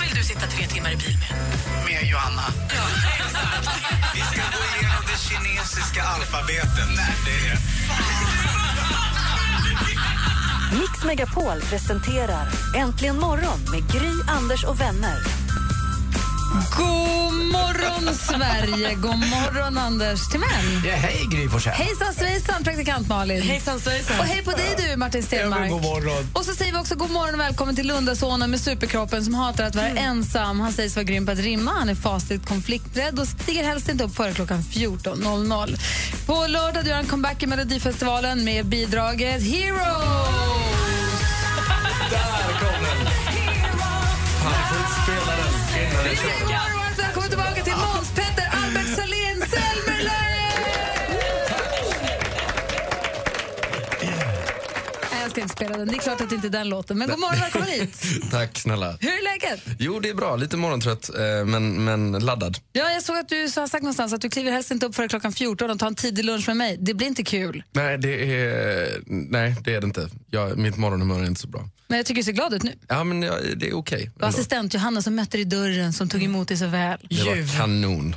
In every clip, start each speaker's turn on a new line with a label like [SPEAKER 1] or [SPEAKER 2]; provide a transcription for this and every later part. [SPEAKER 1] vill du sitta tre timmar i bil med?
[SPEAKER 2] med Johanna. Vi ska gå igenom det kinesiska alfabetet. Nej, det är
[SPEAKER 3] Mix Megapol presenterar Äntligen morgon med Gry, Anders och vänner.
[SPEAKER 4] God morgon, Sverige! God morgon, Anders Timell!
[SPEAKER 2] ja, Hej, Gry Forssell.
[SPEAKER 4] Hejsan svejsan, praktikant Malin!
[SPEAKER 1] Hejsan svejsan.
[SPEAKER 4] Och hej på dig, du, Martin
[SPEAKER 2] Ja,
[SPEAKER 4] Stenmark!
[SPEAKER 2] men god morgon.
[SPEAKER 4] Och så säger vi också god morgon och välkommen till Lundasonen med superkroppen som hatar att vara
[SPEAKER 1] Mm.
[SPEAKER 4] ensam. Han sägs vara grym på att rimma, han är fasligt konflikträdd och stiger helst inte upp före klockan 14.00. På lördag gör han comeback i Melodifestivalen med bidraget Hero! Varmt välkommen tillbaka till Måns Petter Albert Salén Selmerlöv! Nej, jag ska inte spela den. Det är klart att det inte är den låten. Men god morgon, välkommen hit!
[SPEAKER 5] Tack snälla.
[SPEAKER 4] Hur är läget?
[SPEAKER 5] Jo, det är bra. Lite morgontrött, eh, men, men laddad.
[SPEAKER 4] Ja, jag såg att du har sagt någonstans att du kliver helst inte upp före klockan 14 och tar en tidig lunch med mig. Det blir inte kul.
[SPEAKER 5] Nej, det är, nej, det är det inte. Jag, mitt morgonhumör är inte så bra.
[SPEAKER 4] Men jag tycker du ser glad ut nu.
[SPEAKER 5] Ja, men jag, det är okej.
[SPEAKER 4] Det
[SPEAKER 5] ändå.
[SPEAKER 4] var assistent Johanna som mötte dig i dörren som tog emot dig så väl.
[SPEAKER 5] det var kanon.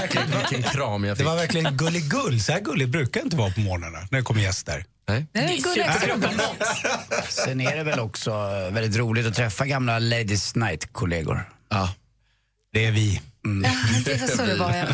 [SPEAKER 5] Vilken, vilken kram jag
[SPEAKER 6] Det
[SPEAKER 5] fick.
[SPEAKER 6] var verkligen gulligull. Så här gullig brukar det inte vara på morgnarna när det kommer gäster.
[SPEAKER 5] Nej.
[SPEAKER 4] Det är gulligt.
[SPEAKER 2] Sen är det väl också eh, väldigt roligt att träffa gamla Ladies Night-kollegor. Mm.
[SPEAKER 5] Ja.
[SPEAKER 6] Det är vi.
[SPEAKER 4] Ja, det var så det var, ja.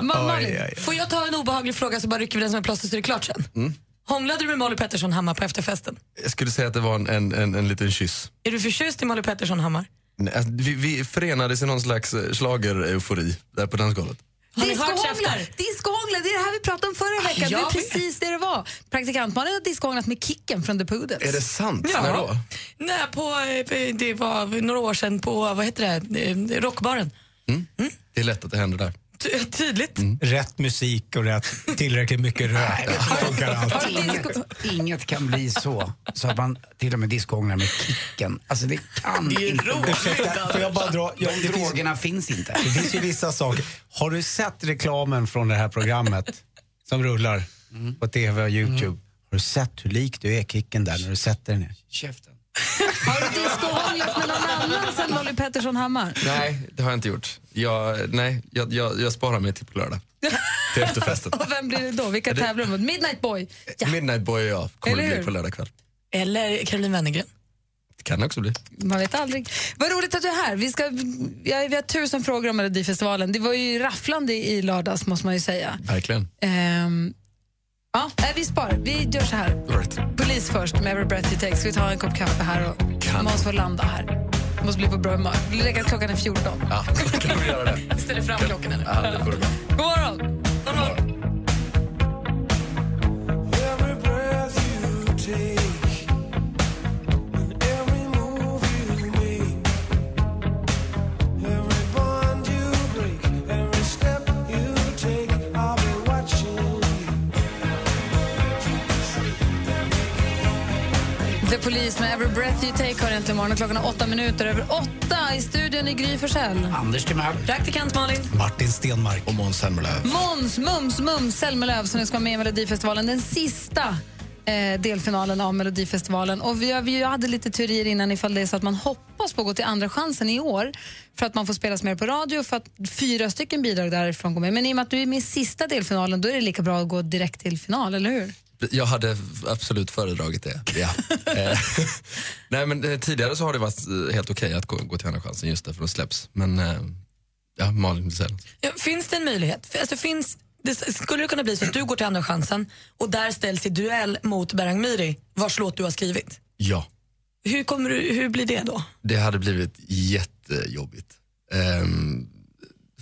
[SPEAKER 4] Ma- Malin,
[SPEAKER 1] Får jag ta en obehaglig fråga så bara rycker vi den som är plåster så är det klart sen?
[SPEAKER 5] Mm.
[SPEAKER 1] Hånglade du med Molly Pettersson Hammar på efterfesten?
[SPEAKER 5] Jag skulle säga att det var en, en, en, en liten kyss.
[SPEAKER 1] Är du förtjust i Molly Pettersson Hammar?
[SPEAKER 5] Nej, alltså, Vi, vi förenades i någon slags schlager-eufori där på dansgolvet.
[SPEAKER 1] Har ni hört Ah,
[SPEAKER 4] Discohånglar!
[SPEAKER 1] käften?
[SPEAKER 4] Discohånglar, det är det här vi pratade om förra veckan.
[SPEAKER 1] jag
[SPEAKER 4] det är
[SPEAKER 1] vet.
[SPEAKER 4] precis det det var. Praktikantmannen har discohånglat med Kicken från The Poodles.
[SPEAKER 5] Är det sant?
[SPEAKER 1] Ja.
[SPEAKER 5] När då?
[SPEAKER 1] Nej, på, eh, det var några år sedan på, vad heter det, eh, rockbaren.
[SPEAKER 5] Det är lätt att det händer där.
[SPEAKER 1] Ty- tydligt.
[SPEAKER 5] Mm.
[SPEAKER 6] Rätt musik och rätt, tillräckligt mycket rök. Det funkar allt.
[SPEAKER 2] Inget, inget kan bli så, så att man till och med diskånglar med kicken. Alltså det kan inte gå.
[SPEAKER 6] Ursäkta, får jag bara dra? Ja,
[SPEAKER 2] De
[SPEAKER 6] det, finns,
[SPEAKER 2] drogerna finns inte.
[SPEAKER 6] det finns ju vissa saker. Har du sett reklamen från det här programmet som rullar på TV och YouTube? Har du sett hur lik du är Kicken där när du sätter den ner?
[SPEAKER 2] Käften.
[SPEAKER 4] Har du discohånglat med någon annan sen Molly Pettersson Hammar?
[SPEAKER 5] Nej, det har jag inte gjort. Jag, nej, jag, jag, jag sparar mig till på lördag. Till efterfesten.
[SPEAKER 4] Och vem blir det då? Vilka tävlar mot? Midnight Boy? Ja,
[SPEAKER 5] Midnight Boy och jag kommer
[SPEAKER 4] Eller
[SPEAKER 5] det
[SPEAKER 4] hur?
[SPEAKER 5] bli på lördag kväll.
[SPEAKER 1] Eller Caroline Wennergren.
[SPEAKER 5] Det kan det också bli.
[SPEAKER 4] man vet aldrig. Vad roligt att du är här. Vi, ska, ja, vi har tusen frågor om Melodifestivalen. Det var ju rafflande i lördags måste man ju säga.
[SPEAKER 5] Verkligen.
[SPEAKER 4] Ehm, ja, nej, vi sparar. Vi gör så här.
[SPEAKER 5] Right.
[SPEAKER 4] Polis först med Every Breath You Take. Ska vi ta en kopp kaffe här och
[SPEAKER 5] Kan.
[SPEAKER 4] måste få landa här. Måste bli på bra humör. Det räcker att klockan är 14.
[SPEAKER 5] Ja, kan vi göra det?
[SPEAKER 1] Ställer fram klockan eller?
[SPEAKER 5] Ja, det går bra.
[SPEAKER 4] God morgon! The Police med Every Breath You Take har äntligen morgon. Klockan är åtta minuter över åtta. I studion i Gry Forssell.
[SPEAKER 2] Anders Timell.
[SPEAKER 1] Praktikant Malin.
[SPEAKER 6] Martin Stenmark.
[SPEAKER 5] Och Måns Zelmerlöw.
[SPEAKER 4] Måns Mums Mums Zelmerlöw som nu ska vara med i Melodifestivalen. Den sista eh, delfinalen av Melodifestivalen. Och vi, har- vi hade lite teorier innan ifall det är så att man hoppas på att gå till Andra chansen i år för att man får spelas mer på radio för att fyra stycken bidrag därifrån går med. Men i och med att du är med i sista delfinalen då är det lika bra att gå direkt till final, eller hur?
[SPEAKER 5] Jag hade absolut föredragit det. Ja. Eh, Nej, men eh, tidigare så har det varit eh, helt okej att gå, gå till Andra chansen just därför de släpps. Men eh, ja, Malin vill säga något.
[SPEAKER 1] Ja, finns det en möjlighet? För, Alltså, finns, det, skulle det kunna bli så att du går till Andra chansen och där ställs i duell mot Berang Miri vars låt du har skrivit?
[SPEAKER 5] Ja,
[SPEAKER 1] Hur, kommer du, hur blir det då?
[SPEAKER 5] det hade blivit jättejobbigt. Ehm,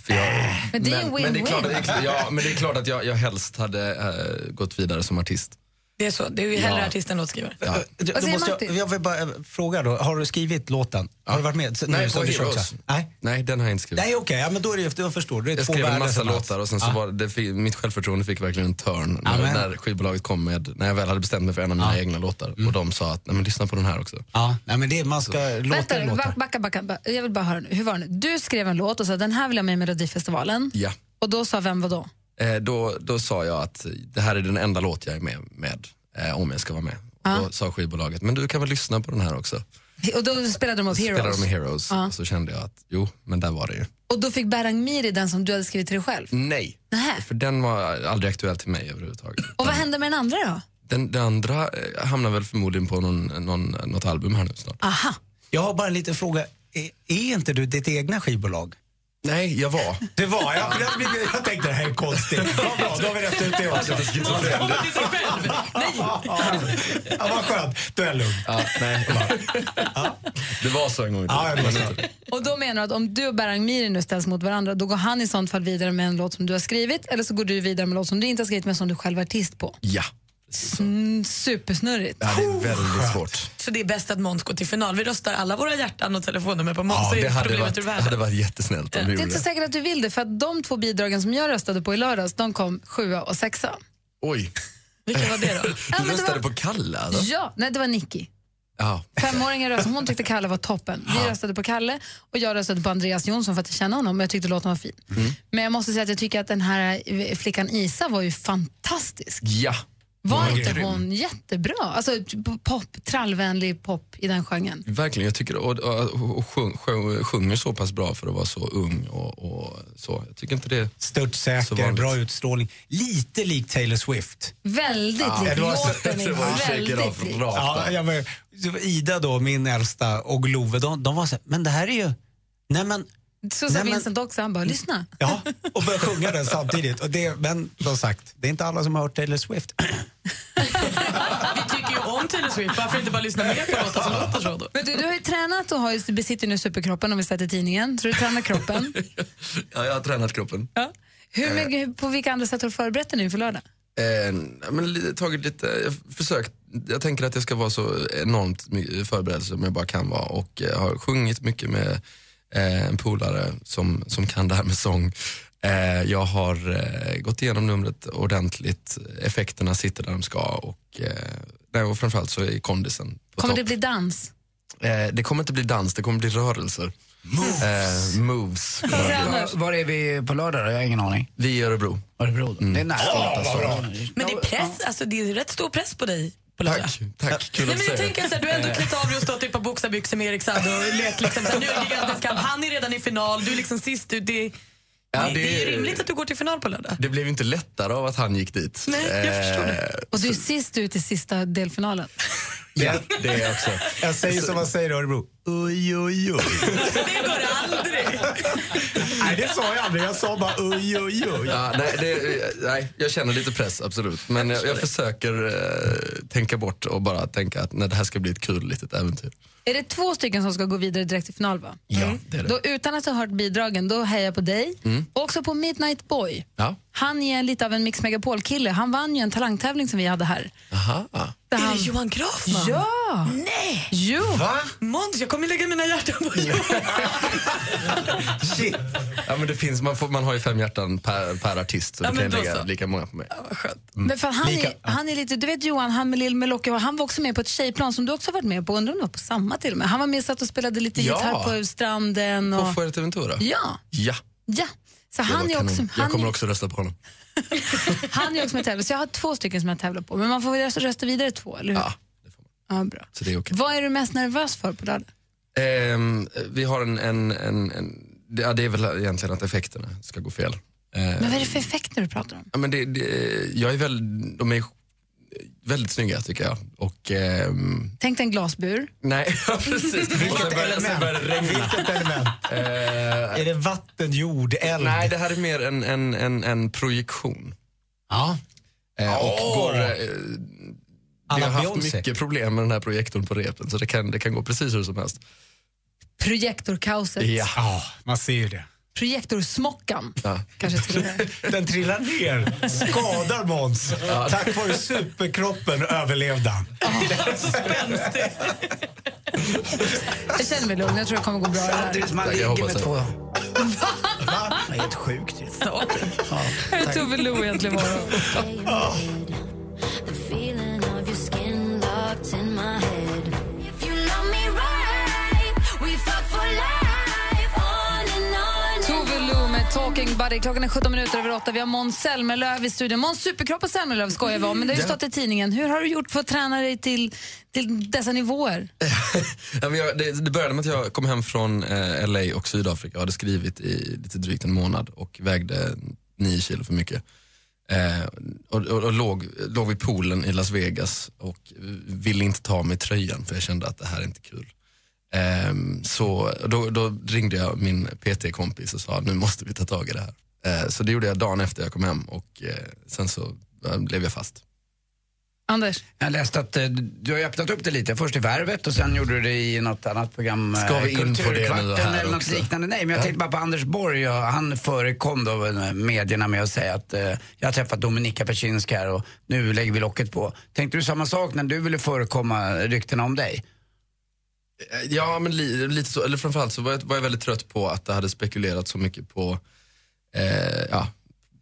[SPEAKER 5] för jag,
[SPEAKER 4] Äh, Men det är ju
[SPEAKER 5] men det är klart,
[SPEAKER 4] win-win.
[SPEAKER 5] att- ja, men det är klart att jag, jag helst hade eh, gått vidare som artist.
[SPEAKER 1] Det är så, det är ju hellre artist än låtskrivare.
[SPEAKER 5] Ja.
[SPEAKER 6] Då
[SPEAKER 4] säger
[SPEAKER 6] måste jag,
[SPEAKER 4] Martin?
[SPEAKER 6] jag vill bara eh, fråga då, har du skrivit låten? Har du varit med? s-
[SPEAKER 5] Nej,
[SPEAKER 6] nu som
[SPEAKER 5] på
[SPEAKER 6] du kör
[SPEAKER 5] Heroes.
[SPEAKER 6] också? Nej.
[SPEAKER 5] Nej, den har jag inte skrivit.
[SPEAKER 6] Nej, okej, ja, men då är det, jag förstår. Det är
[SPEAKER 5] Jag
[SPEAKER 6] två
[SPEAKER 5] skrev en
[SPEAKER 6] världar
[SPEAKER 5] massa
[SPEAKER 6] som möts.
[SPEAKER 5] låtar och sen så
[SPEAKER 6] Ja.
[SPEAKER 5] var det, fick, mitt självförtroende fick verkligen en törn
[SPEAKER 6] Amen.
[SPEAKER 5] när, när skivbolaget kom med, när jag väl hade bestämt mig för en av mina egna låtar och de sa att nej men lyssna på den här också.
[SPEAKER 6] Ja, nej, men det, man ska låta
[SPEAKER 4] Vänta,
[SPEAKER 6] låtar.
[SPEAKER 4] ba- backa, backa, ba- jag vill bara höra nu. Hur var det nu? Du skrev en låt och sa den här vill jag med i Melodifestivalen.
[SPEAKER 5] Ja.
[SPEAKER 4] Och då sa vem vad då?
[SPEAKER 5] Eh, då, då sa jag att det här är den enda låt jag är med, med eh, om jag ska vara med. Och då sa skivbolaget, men du kan väl lyssna på den här också.
[SPEAKER 4] Och då spelade de upp
[SPEAKER 5] Spelade
[SPEAKER 4] Heroes.
[SPEAKER 5] de i Heroes och så kände jag att jo, men där var det ju.
[SPEAKER 4] Och då fick Berang Miri den som du hade skrivit till dig själv.
[SPEAKER 5] Nej,
[SPEAKER 4] Nähä.
[SPEAKER 5] för den var aldrig aktuell till mig överhuvudtaget.
[SPEAKER 4] Och vad hände med den andra då?
[SPEAKER 5] Den, den andra eh, hamnar väl förmodligen på någon, någon, något album här nu snart.
[SPEAKER 4] Aha.
[SPEAKER 6] Jag har bara en liten fråga. Är, är inte du ditt egna skivbolag?
[SPEAKER 5] Nej, jag var.
[SPEAKER 6] Det var jag. för Jag, blev- jag tänkte det här är konstigt. Ja, bra, då har vi rätt ut det
[SPEAKER 7] Alltså,
[SPEAKER 6] också. Ja, vad skönt. Då är jag lugn.
[SPEAKER 5] Ja, nej. Det var så en gång i
[SPEAKER 6] Ja, jag menar det.
[SPEAKER 4] Och då menar du att om du och Berang Miri nu ställs mot varandra, då går han i sånt fall vidare med en låt som du har skrivit, eller så går du vidare med en låt som du inte har skrivit men som du själv är artist på.
[SPEAKER 5] Ja.
[SPEAKER 4] Mm, supersnurrigt.
[SPEAKER 5] ja, det är väldigt svårt.
[SPEAKER 1] Så det är bäst att Måns går till final. Vi röstar alla våra hjärtan och telefonnummer på Måns.
[SPEAKER 5] Ja,
[SPEAKER 1] så är
[SPEAKER 5] det hade
[SPEAKER 1] problemet ur
[SPEAKER 5] varit,
[SPEAKER 1] världen.
[SPEAKER 5] hade varit jättesnällt om du
[SPEAKER 4] Det är
[SPEAKER 5] gjorde
[SPEAKER 4] inte
[SPEAKER 5] det.
[SPEAKER 4] säkert att du vill det, för att de två bidragen som jag röstade på i lördags, de kom sjua och sexa.
[SPEAKER 5] Oj.
[SPEAKER 1] Vilka var det då?
[SPEAKER 4] men
[SPEAKER 5] Du
[SPEAKER 4] det
[SPEAKER 5] röstade
[SPEAKER 4] var- Mm.
[SPEAKER 5] på Kalle alltså?
[SPEAKER 4] Ja, nej det var Nicky.
[SPEAKER 5] Ja.
[SPEAKER 4] Femåringen röstade, hon tyckte Kalle var toppen. Vi röstade på Kalle och jag röstade på Andreas Jonsson för att jag känner honom och jag tyckte låten var fin.
[SPEAKER 5] Mm.
[SPEAKER 4] Men jag måste säga att jag tycker att den här eh, flickan Isa var ju fantastisk.
[SPEAKER 5] Ja.
[SPEAKER 4] Var
[SPEAKER 5] Hon
[SPEAKER 4] inte
[SPEAKER 5] grym.
[SPEAKER 4] hon jättebra? Alltså typ pop, trallvänlig pop i den genren.
[SPEAKER 5] Verkligen, jag tycker och, och, och sjung, sjung, sjunger så pass bra för att vara så ung och, och så. Jag tycker inte det... Så
[SPEAKER 6] Störtsäker,
[SPEAKER 5] vanligt.
[SPEAKER 6] bra utstrålning. Lite lik Taylor Swift.
[SPEAKER 4] Väldigt lik.
[SPEAKER 6] det var så-
[SPEAKER 4] Låten
[SPEAKER 5] det var ju
[SPEAKER 4] är
[SPEAKER 5] shaker
[SPEAKER 4] väldigt lik.
[SPEAKER 5] off rakt
[SPEAKER 6] Ja,
[SPEAKER 5] av.
[SPEAKER 6] jag men, så var Ida då, min äldsta, och Glove, de, de var så här, men det här är ju... Nej men,
[SPEAKER 4] Så
[SPEAKER 6] Nej,
[SPEAKER 4] sa
[SPEAKER 6] men-
[SPEAKER 4] Vincent också, han bara lyssna.
[SPEAKER 6] ja, och började sjunga den samtidigt. Och det, men som sagt, det är inte alla som har hört Taylor Swift.
[SPEAKER 1] Vi tycker ju om Taylor Swift. Varför inte bara lyssna mer på låtar som låter så då?
[SPEAKER 4] Men du, du har ju tränat och har ju, besitter ju nu superkroppen om vi sett i tidningen. Så du tränar kroppen.
[SPEAKER 5] Ja, jag har tränat kroppen.
[SPEAKER 4] ja. Hur mycket, på vilka andra sätt har du förberett dig nu för lördag?
[SPEAKER 5] Eh, nej, men li- tagit lite, jag försökt, jag tänker att jag ska vara så enormt my- förberedd som jag bara kan vara och eh, har sjungit mycket med eh, en polare som, som kan det här med sång. Eh, jag har eh, gått igenom numret ordentligt, effekterna sitter där de ska och, eh, nej, och framförallt så är kondisen på
[SPEAKER 4] Kommer
[SPEAKER 5] topp.
[SPEAKER 4] det bli dans?
[SPEAKER 5] eh, det kommer inte bli dans, det kommer bli rörelser. Moves. Eh, moves. kommer det bli.
[SPEAKER 4] Anders?
[SPEAKER 7] Var är vi på lördag då? Jag har ingen aning.
[SPEAKER 5] Vi i Örebro.
[SPEAKER 7] Örebro då?
[SPEAKER 6] Mm.
[SPEAKER 7] Det är nära. alltså.
[SPEAKER 1] Men det är press, alltså det är rätt stor press på dig på lördag.
[SPEAKER 5] Tack, tack. Kul
[SPEAKER 1] Nej,
[SPEAKER 5] att
[SPEAKER 1] men jag
[SPEAKER 5] säga.
[SPEAKER 1] tänker så här, du har ändå klätt av dig och stått i ett par boxarbyxor med Erik Saade och lekt liksom så här, nu är det gigantisk kamp. Han är redan i final, du är liksom sist ut. Det,
[SPEAKER 5] Ja,
[SPEAKER 1] det, det är ju
[SPEAKER 5] det-
[SPEAKER 1] rimligt att du går till final på lördag.
[SPEAKER 5] Det blev ju inte lättare av att han gick dit. Eh,
[SPEAKER 1] Nej, jag förstår det.
[SPEAKER 4] Och du är sist ut i sista delfinalen.
[SPEAKER 5] Ja, det är jag också. Alltså-
[SPEAKER 6] Jag säger som man säger i Örebro. Oj, oj, oj.
[SPEAKER 1] Det går aldrig.
[SPEAKER 6] Nej, det sa jag aldrig. Jag sa bara oj, oj, oj.
[SPEAKER 5] Ja, nej, det, nej, jag känner lite press, absolut. Men jag, jag försöker eh, tänka bort och bara tänka att nej, det här ska bli ett kul litet äventyr.
[SPEAKER 4] Är det två stycken som ska gå vidare direkt till final? Va?
[SPEAKER 5] Ja, det är det. Mm.
[SPEAKER 4] Då, utan att ha hört bidragen, då hejar jag på dig. Och också på Midnight Boy.
[SPEAKER 5] Ja.
[SPEAKER 4] Han är lite av en Mix Megapol-kille. Han vann ju en talangtävling som vi hade här.
[SPEAKER 5] Aha.
[SPEAKER 4] Där
[SPEAKER 1] Är
[SPEAKER 4] han...
[SPEAKER 1] det Johan Grafman?
[SPEAKER 4] Ja!
[SPEAKER 1] Nej!
[SPEAKER 4] Jo!
[SPEAKER 1] Måns, jag kommer lägga mina hjärtan på Johan.
[SPEAKER 6] Shit.
[SPEAKER 5] Ja, men det finns, man, får, man har ju fem hjärtan per, per artist, så
[SPEAKER 1] Ja,
[SPEAKER 5] du kan ju
[SPEAKER 1] men då
[SPEAKER 5] lägga
[SPEAKER 1] så.
[SPEAKER 5] lika många på mig.
[SPEAKER 1] Vad skönt.
[SPEAKER 4] Mm. Men för han,
[SPEAKER 6] Lika-
[SPEAKER 4] är, han är lite, du vet Johan, han med Lill med lockig hår, han var också med på ett tjejplan som du också har varit med på, undrar om det var på samma till och med. Han var med och satt och spelade lite
[SPEAKER 5] Ja.
[SPEAKER 4] gitarr på stranden.
[SPEAKER 5] På
[SPEAKER 4] Och,
[SPEAKER 5] Fuerteventura?
[SPEAKER 4] ja,
[SPEAKER 5] Ja.
[SPEAKER 4] ja. Så
[SPEAKER 5] det var
[SPEAKER 4] han är,
[SPEAKER 5] kanon.
[SPEAKER 4] också,
[SPEAKER 5] jag
[SPEAKER 4] han,
[SPEAKER 5] kommer
[SPEAKER 4] är,
[SPEAKER 5] också rösta på honom.
[SPEAKER 4] han är också med och tävlar, så jag har två stycken som jag tävlar på. Men man får väl rösta- rösta vidare två, eller hur?
[SPEAKER 5] Ja, det får man.
[SPEAKER 4] Ja, bra.
[SPEAKER 5] Så det är okej.
[SPEAKER 4] Vad är du mest nervös för på lördag?
[SPEAKER 5] Ehm, vi har en... en, en, en det, ja, det är väl egentligen att effekterna ska gå fel. Ehm,
[SPEAKER 4] Men vad är det för effekter du pratar om?
[SPEAKER 5] Ja, men det, det, jag är väl, de är väldigt snygga tycker jag. Och, ehm,
[SPEAKER 4] Tänk dig en glasbur.
[SPEAKER 5] nej, ja, precis. Och sen börjar- sen börjar det regna. Eh,
[SPEAKER 6] Vilket element? Är det vatten, jord, eld?
[SPEAKER 5] Nej, det här är mer en, en, en, en projektion.
[SPEAKER 6] Ja.
[SPEAKER 5] Eh,
[SPEAKER 6] Åh!
[SPEAKER 5] Och går, eh, vi
[SPEAKER 6] Alla
[SPEAKER 5] har haft
[SPEAKER 6] Beyoncé.
[SPEAKER 5] mycket problem med den här projektorn på repen, så det kan, det kan gå precis hur som helst.
[SPEAKER 4] Projektorkaoset.
[SPEAKER 5] Ja.
[SPEAKER 6] Ja, man ser ju det.
[SPEAKER 4] projektorsmockan.
[SPEAKER 5] Ja.
[SPEAKER 4] Kanske till och med.
[SPEAKER 6] Den trillar ner, skadar Måns. Tack vare superkroppen överlevde han.
[SPEAKER 4] Jag känner mig lugn, jag tror det kommer gå bra. Det här.
[SPEAKER 7] Samtidigt som man
[SPEAKER 5] Tack, jag
[SPEAKER 7] ligger
[SPEAKER 5] hoppas
[SPEAKER 7] med
[SPEAKER 5] det.
[SPEAKER 7] två. Va? Det är helt sjukt.
[SPEAKER 4] Här är Tove Lo egentligen morgon. Tove Lo med Talking Buddy. Klockan är 17 minuter över 8. Vi har Måns Zelmerlöw i studion. Måns superkropp och Zelmerlöw skojar vi om, men det har ju stått i tidningen. Hur har du gjort för att träna dig till, till dessa nivåer?
[SPEAKER 5] Ja, men jag, det, det började med att jag kom hem från eh, LA och Sydafrika och hade skrivit i lite drygt en månad och vägde nio kilo för mycket. Eh, och och, och låg, låg vid poolen i Las Vegas och ville inte ta av mig tröjan för jag kände att det här är inte kul. Ehm, så då, då ringde jag min PT-kompis och sa nu måste vi ta tag i det här. Eh, så det gjorde jag dagen efter jag kom hem och eh, sen så eh, blev jag fast.
[SPEAKER 4] Anders?
[SPEAKER 7] Jag läste att eh, du har ju öppnat upp det lite. Först i Värvet och sen gjorde du det i något annat program. eh,
[SPEAKER 5] Ska vi in på det nu
[SPEAKER 7] Kulturkvarten
[SPEAKER 5] här
[SPEAKER 7] eller något
[SPEAKER 5] också?
[SPEAKER 7] liknande. Nej, men jag tänkte bara på Anders Borg. Och han förekom då eh, medierna med att säga att eh, jag har träffat Dominika Persinsk här och nu lägger vi locket på. Tänkte du samma sak när du ville förekomma ryktena om dig?
[SPEAKER 5] Eh, Ja, men li, lite så. Eller framförallt så var jag, var jag väldigt trött på att det hade spekulerat så mycket på, eh, ja,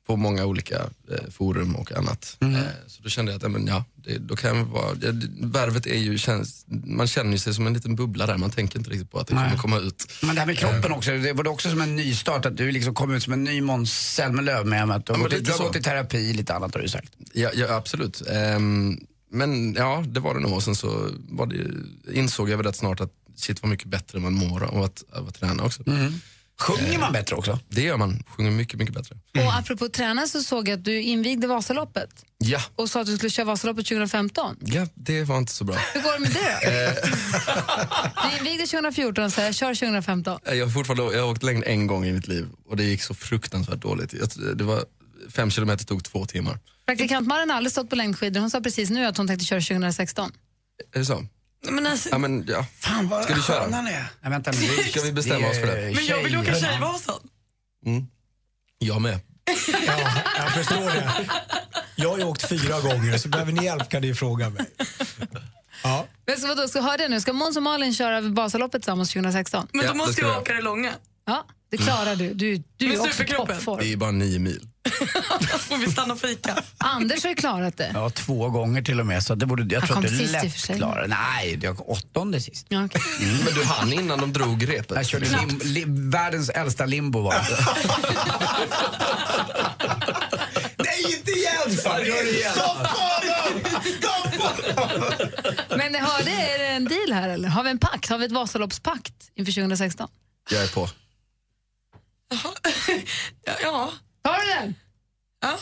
[SPEAKER 5] på många olika eh, forum och annat.
[SPEAKER 7] Mm.
[SPEAKER 5] Eh, så då kände jag att ja, men, ja, det, då kan jag vara, ja, det- värvet är ju, känns, man känner ju sig som en liten bubbla där, man tänker inte riktigt på att det kommer komma ut.
[SPEAKER 7] Men det här med kroppen också, det var det också som en ny start att du liksom kom ut som en ny Måns Zelmerlöw med att du har
[SPEAKER 5] Ja, men
[SPEAKER 7] gått i-
[SPEAKER 5] lite
[SPEAKER 7] du har
[SPEAKER 5] så.
[SPEAKER 7] gått i terapi lite annat har du sagt.
[SPEAKER 5] Ja, ja absolut. Ehm, men ja, det var det nog. Och sen så var det, ju- insåg jag väl rätt snart att shit vad mycket bättre man mår av att, av att träna också.
[SPEAKER 7] Mm.
[SPEAKER 5] Eh,
[SPEAKER 7] Sjunger man bättre också?
[SPEAKER 5] Det gör man, sjunger mycket, mycket bättre.
[SPEAKER 4] Och apropå träna så såg jag att du invigde Vasaloppet
[SPEAKER 5] Ja,
[SPEAKER 4] och sa att du skulle köra Vasaloppet 2015.
[SPEAKER 5] ja det var inte så bra.
[SPEAKER 4] Hur går det med det då? Du invigde 2014 och sa jag kör 2015.
[SPEAKER 5] Jag har, fortfarande, jag har åkt längd en gång i mitt liv och det gick så fruktansvärt dåligt. Jag, det var, fem kilometer tog två timmar.
[SPEAKER 4] Praktikant Malin har aldrig stått på längdskidor. Hon sa precis nu att hon tänkte köra 2016.
[SPEAKER 5] Är det så?
[SPEAKER 1] Men alltså,
[SPEAKER 5] Ja, men, ja.
[SPEAKER 7] Fan vad
[SPEAKER 5] Ska vi köra?
[SPEAKER 7] sköna ni är. Nej, vänta, men det,
[SPEAKER 5] Ska vi bestämma
[SPEAKER 7] är
[SPEAKER 5] oss för det?
[SPEAKER 1] men jag vill åka
[SPEAKER 7] tjejerna.
[SPEAKER 1] Tjejvasan.
[SPEAKER 5] Jag med.
[SPEAKER 6] Ja, jag förstår det. Jag har ju åkt fyra gånger, så behöver ni hjälp kan ni fråga mig. Ja.
[SPEAKER 4] Men så vadå, ska höra det nu? Ska Måns och Malin köra Vasaloppet tillsammans 2016?
[SPEAKER 1] Men
[SPEAKER 5] Ja,
[SPEAKER 1] då
[SPEAKER 5] det
[SPEAKER 1] måste
[SPEAKER 5] ska
[SPEAKER 1] jag
[SPEAKER 5] jag.
[SPEAKER 1] åka det långa.
[SPEAKER 4] Ja, det klarar du. Du, du är
[SPEAKER 1] Med
[SPEAKER 4] också i
[SPEAKER 1] superkroppen.
[SPEAKER 5] Det är
[SPEAKER 4] toppform.
[SPEAKER 5] ju bara nio mil.
[SPEAKER 1] Får vi stanna och fika?
[SPEAKER 4] Anders har ju klarat det.
[SPEAKER 7] Ja, två gånger till och med. Så det borde, jag tror
[SPEAKER 4] kom
[SPEAKER 7] att du
[SPEAKER 4] sist i och för
[SPEAKER 7] lätt
[SPEAKER 4] sig.
[SPEAKER 7] klarar Nej, jag åttonde sist.
[SPEAKER 4] Ja, okej.
[SPEAKER 5] Men du hann innan de drog repet.
[SPEAKER 7] Mm. Jag körde lim, lim, världens äldsta limbo var det.
[SPEAKER 6] Nej, inte igen! Fan, gör det igen. Stoppa honom!
[SPEAKER 4] Men har det, är det en deal här eller? Har vi en pakt? Har vi ett Vasaloppspakt inför 2016?
[SPEAKER 5] Jag är på.
[SPEAKER 1] Ja. ja.
[SPEAKER 4] Tar du den?
[SPEAKER 1] ja.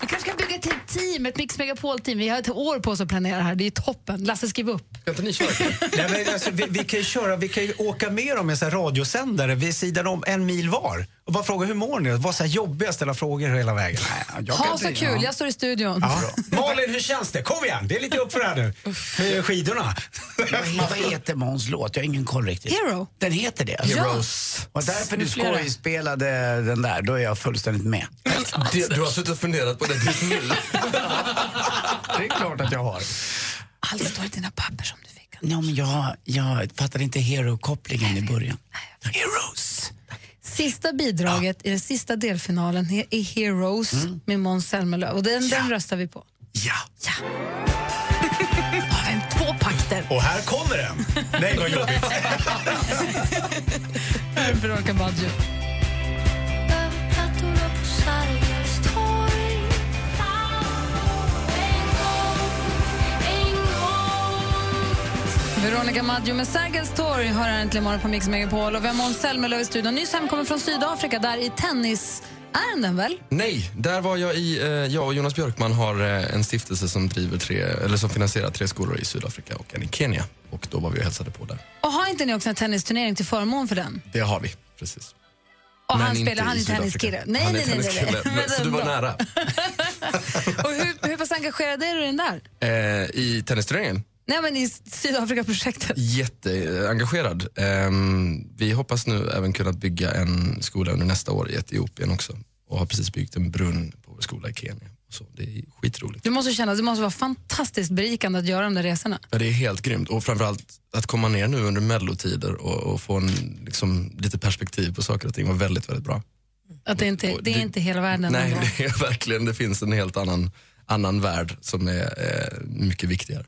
[SPEAKER 4] Vi kanske kan bygga till ett team, ett Mix Megapol-team. Vi har ett år på oss att planera det här. Det är toppen. Lasse, skriv upp.
[SPEAKER 5] Kan inte ni köra?
[SPEAKER 6] Nej, men alltså, vi, vi kan ju köra, vi kan ju åka med dem i en sån här radiosändare vid sidan om en mil var. Och bara fråga hur mår ni? Vad så här jobbiga ställa frågor hela vägen.
[SPEAKER 7] Jag kan
[SPEAKER 4] Ha
[SPEAKER 7] inte-
[SPEAKER 4] så kul,
[SPEAKER 7] Ja.
[SPEAKER 4] jag står i studion.
[SPEAKER 6] Ja. Malin, hur känns det? Kom igen, det är lite upp för det här nu. Hur är skidorna?
[SPEAKER 7] Vad vad heter Måns låt? Jag har ingen koll riktigt.
[SPEAKER 4] Hero.
[SPEAKER 7] Den heter det?
[SPEAKER 5] Heroes.
[SPEAKER 7] Och därför du
[SPEAKER 1] flera.
[SPEAKER 7] skojspelade den där, då är jag fullständigt med.
[SPEAKER 5] Du, du har suttit och funderat på det tills nu.
[SPEAKER 7] Det är klart att jag har.
[SPEAKER 4] Allt står i dina papper som du fick.
[SPEAKER 7] Ja, men jag, jag fattade inte hero-kopplingen i början. Heroes.
[SPEAKER 4] Sista bidraget i den sista delfinalen he- är Heroes
[SPEAKER 5] Mm.
[SPEAKER 4] med Måns Zelmerlöw. Och den, den röstar vi på.
[SPEAKER 7] Ja.
[SPEAKER 4] Har vi en två pakter?
[SPEAKER 6] Och här kommer den! Nej, vad jobbigt.
[SPEAKER 4] Veronica Maggio. Veronica Maggio med Sergels torg hör här äntligen morgon på Mix Megapol. Och vi har Måns Zelmerlöw i studion. Nyss hemkommen från Sydafrika, där i tennisärenden väl?
[SPEAKER 5] Nej, där var jag i, eh, jag och Jonas Björkman har eh, en stiftelse som, driver tre, eller som finansierar tre skolor i Sydafrika och en i Kenya. Och då var vi och hälsade på där.
[SPEAKER 4] Och har inte ni också en tennisturnering till förmån för den?
[SPEAKER 5] Det har vi, precis.
[SPEAKER 4] Och
[SPEAKER 5] Men
[SPEAKER 4] han
[SPEAKER 5] inte
[SPEAKER 4] spelar, han
[SPEAKER 5] i
[SPEAKER 4] är tenniskille.
[SPEAKER 5] Sydafrika.
[SPEAKER 4] Nej,
[SPEAKER 5] han är
[SPEAKER 4] nej, nej. nej, nej.
[SPEAKER 5] tenniskille. Men, så du var
[SPEAKER 4] ändå.
[SPEAKER 5] nära.
[SPEAKER 4] Och hur, hur pass engagerad är du i den där?
[SPEAKER 5] Eh, I tennisturneringen?
[SPEAKER 4] Nej, men i Sydafrikaprojektet.
[SPEAKER 5] Jätteengagerad. Ehm, vi hoppas nu även kunna bygga en skola under nästa år i Etiopien också. Och har precis byggt en brunn på vår skola i Kenya. Och så. Det är skitroligt.
[SPEAKER 4] Du måste känna, det måste vara fantastiskt berikande att göra de där resorna.
[SPEAKER 5] Ja, det är helt grymt. Och framförallt att komma ner nu under mellotider och, och få en, liksom, lite perspektiv på saker och ting var väldigt, väldigt bra.
[SPEAKER 4] Att det, inte, det är inte hela världen.
[SPEAKER 5] Nej,
[SPEAKER 4] ändå.
[SPEAKER 5] det är verkligen, det finns en helt annan, annan värld som är eh, mycket viktigare.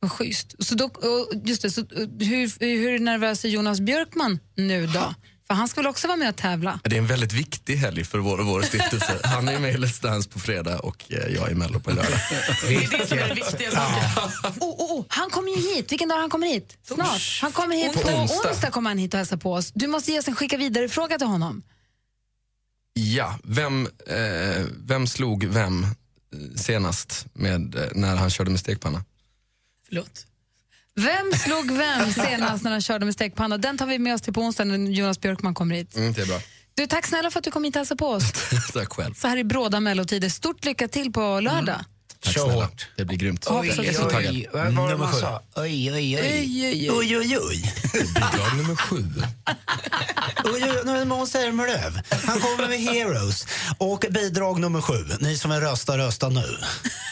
[SPEAKER 4] Vad schysst. Så då, och just det, så och hur, hur nervös är Jonas Björkman nu då? För han ska väl också vara med och tävla?
[SPEAKER 5] Det är en väldigt viktig helg för vår, vår stiftelse. Han är med i Let's Dance på fredag och eh, jag är i Mello på lördag.
[SPEAKER 4] Oh, oh, oh, han kommer ju hit. Vilken dag han kommer hit? Snart. Han kommer hit på
[SPEAKER 5] På onsdag.
[SPEAKER 4] onsdag. kommer han hit och hälsar på oss. Du måste ge oss en skicka vidare-fråga till honom.
[SPEAKER 5] Ja, vem, eh, vem slog vem eh, senast med, eh, när han körde med stekpanna?
[SPEAKER 1] Förlåt.
[SPEAKER 4] Vem slog vem senast när han körde med stekpanna? Den tar vi med oss till på onsdag när Jonas Björkman kommer hit.
[SPEAKER 5] Mm, det är bra.
[SPEAKER 4] Du, tack snälla för att du kom hit och hälsade på oss.
[SPEAKER 5] Tack själv.
[SPEAKER 4] Så här i bråda mellotider. Stort lycka till på lördag.
[SPEAKER 5] Tack
[SPEAKER 6] Kör
[SPEAKER 5] snälla. Det blir grymt. Jag
[SPEAKER 7] Oj,
[SPEAKER 5] är
[SPEAKER 7] oj,
[SPEAKER 5] så taggad.
[SPEAKER 7] oj. Vad var det man sa? Oj, oj, oj. Oj, oj, oj.
[SPEAKER 5] Bidrag nummer sju.
[SPEAKER 6] Oj, oj, oj, nu är det Måns Zelmerlöw. Han kommer med Heroes och bidrag nummer sju. Ni som vill rösta, rösta nu.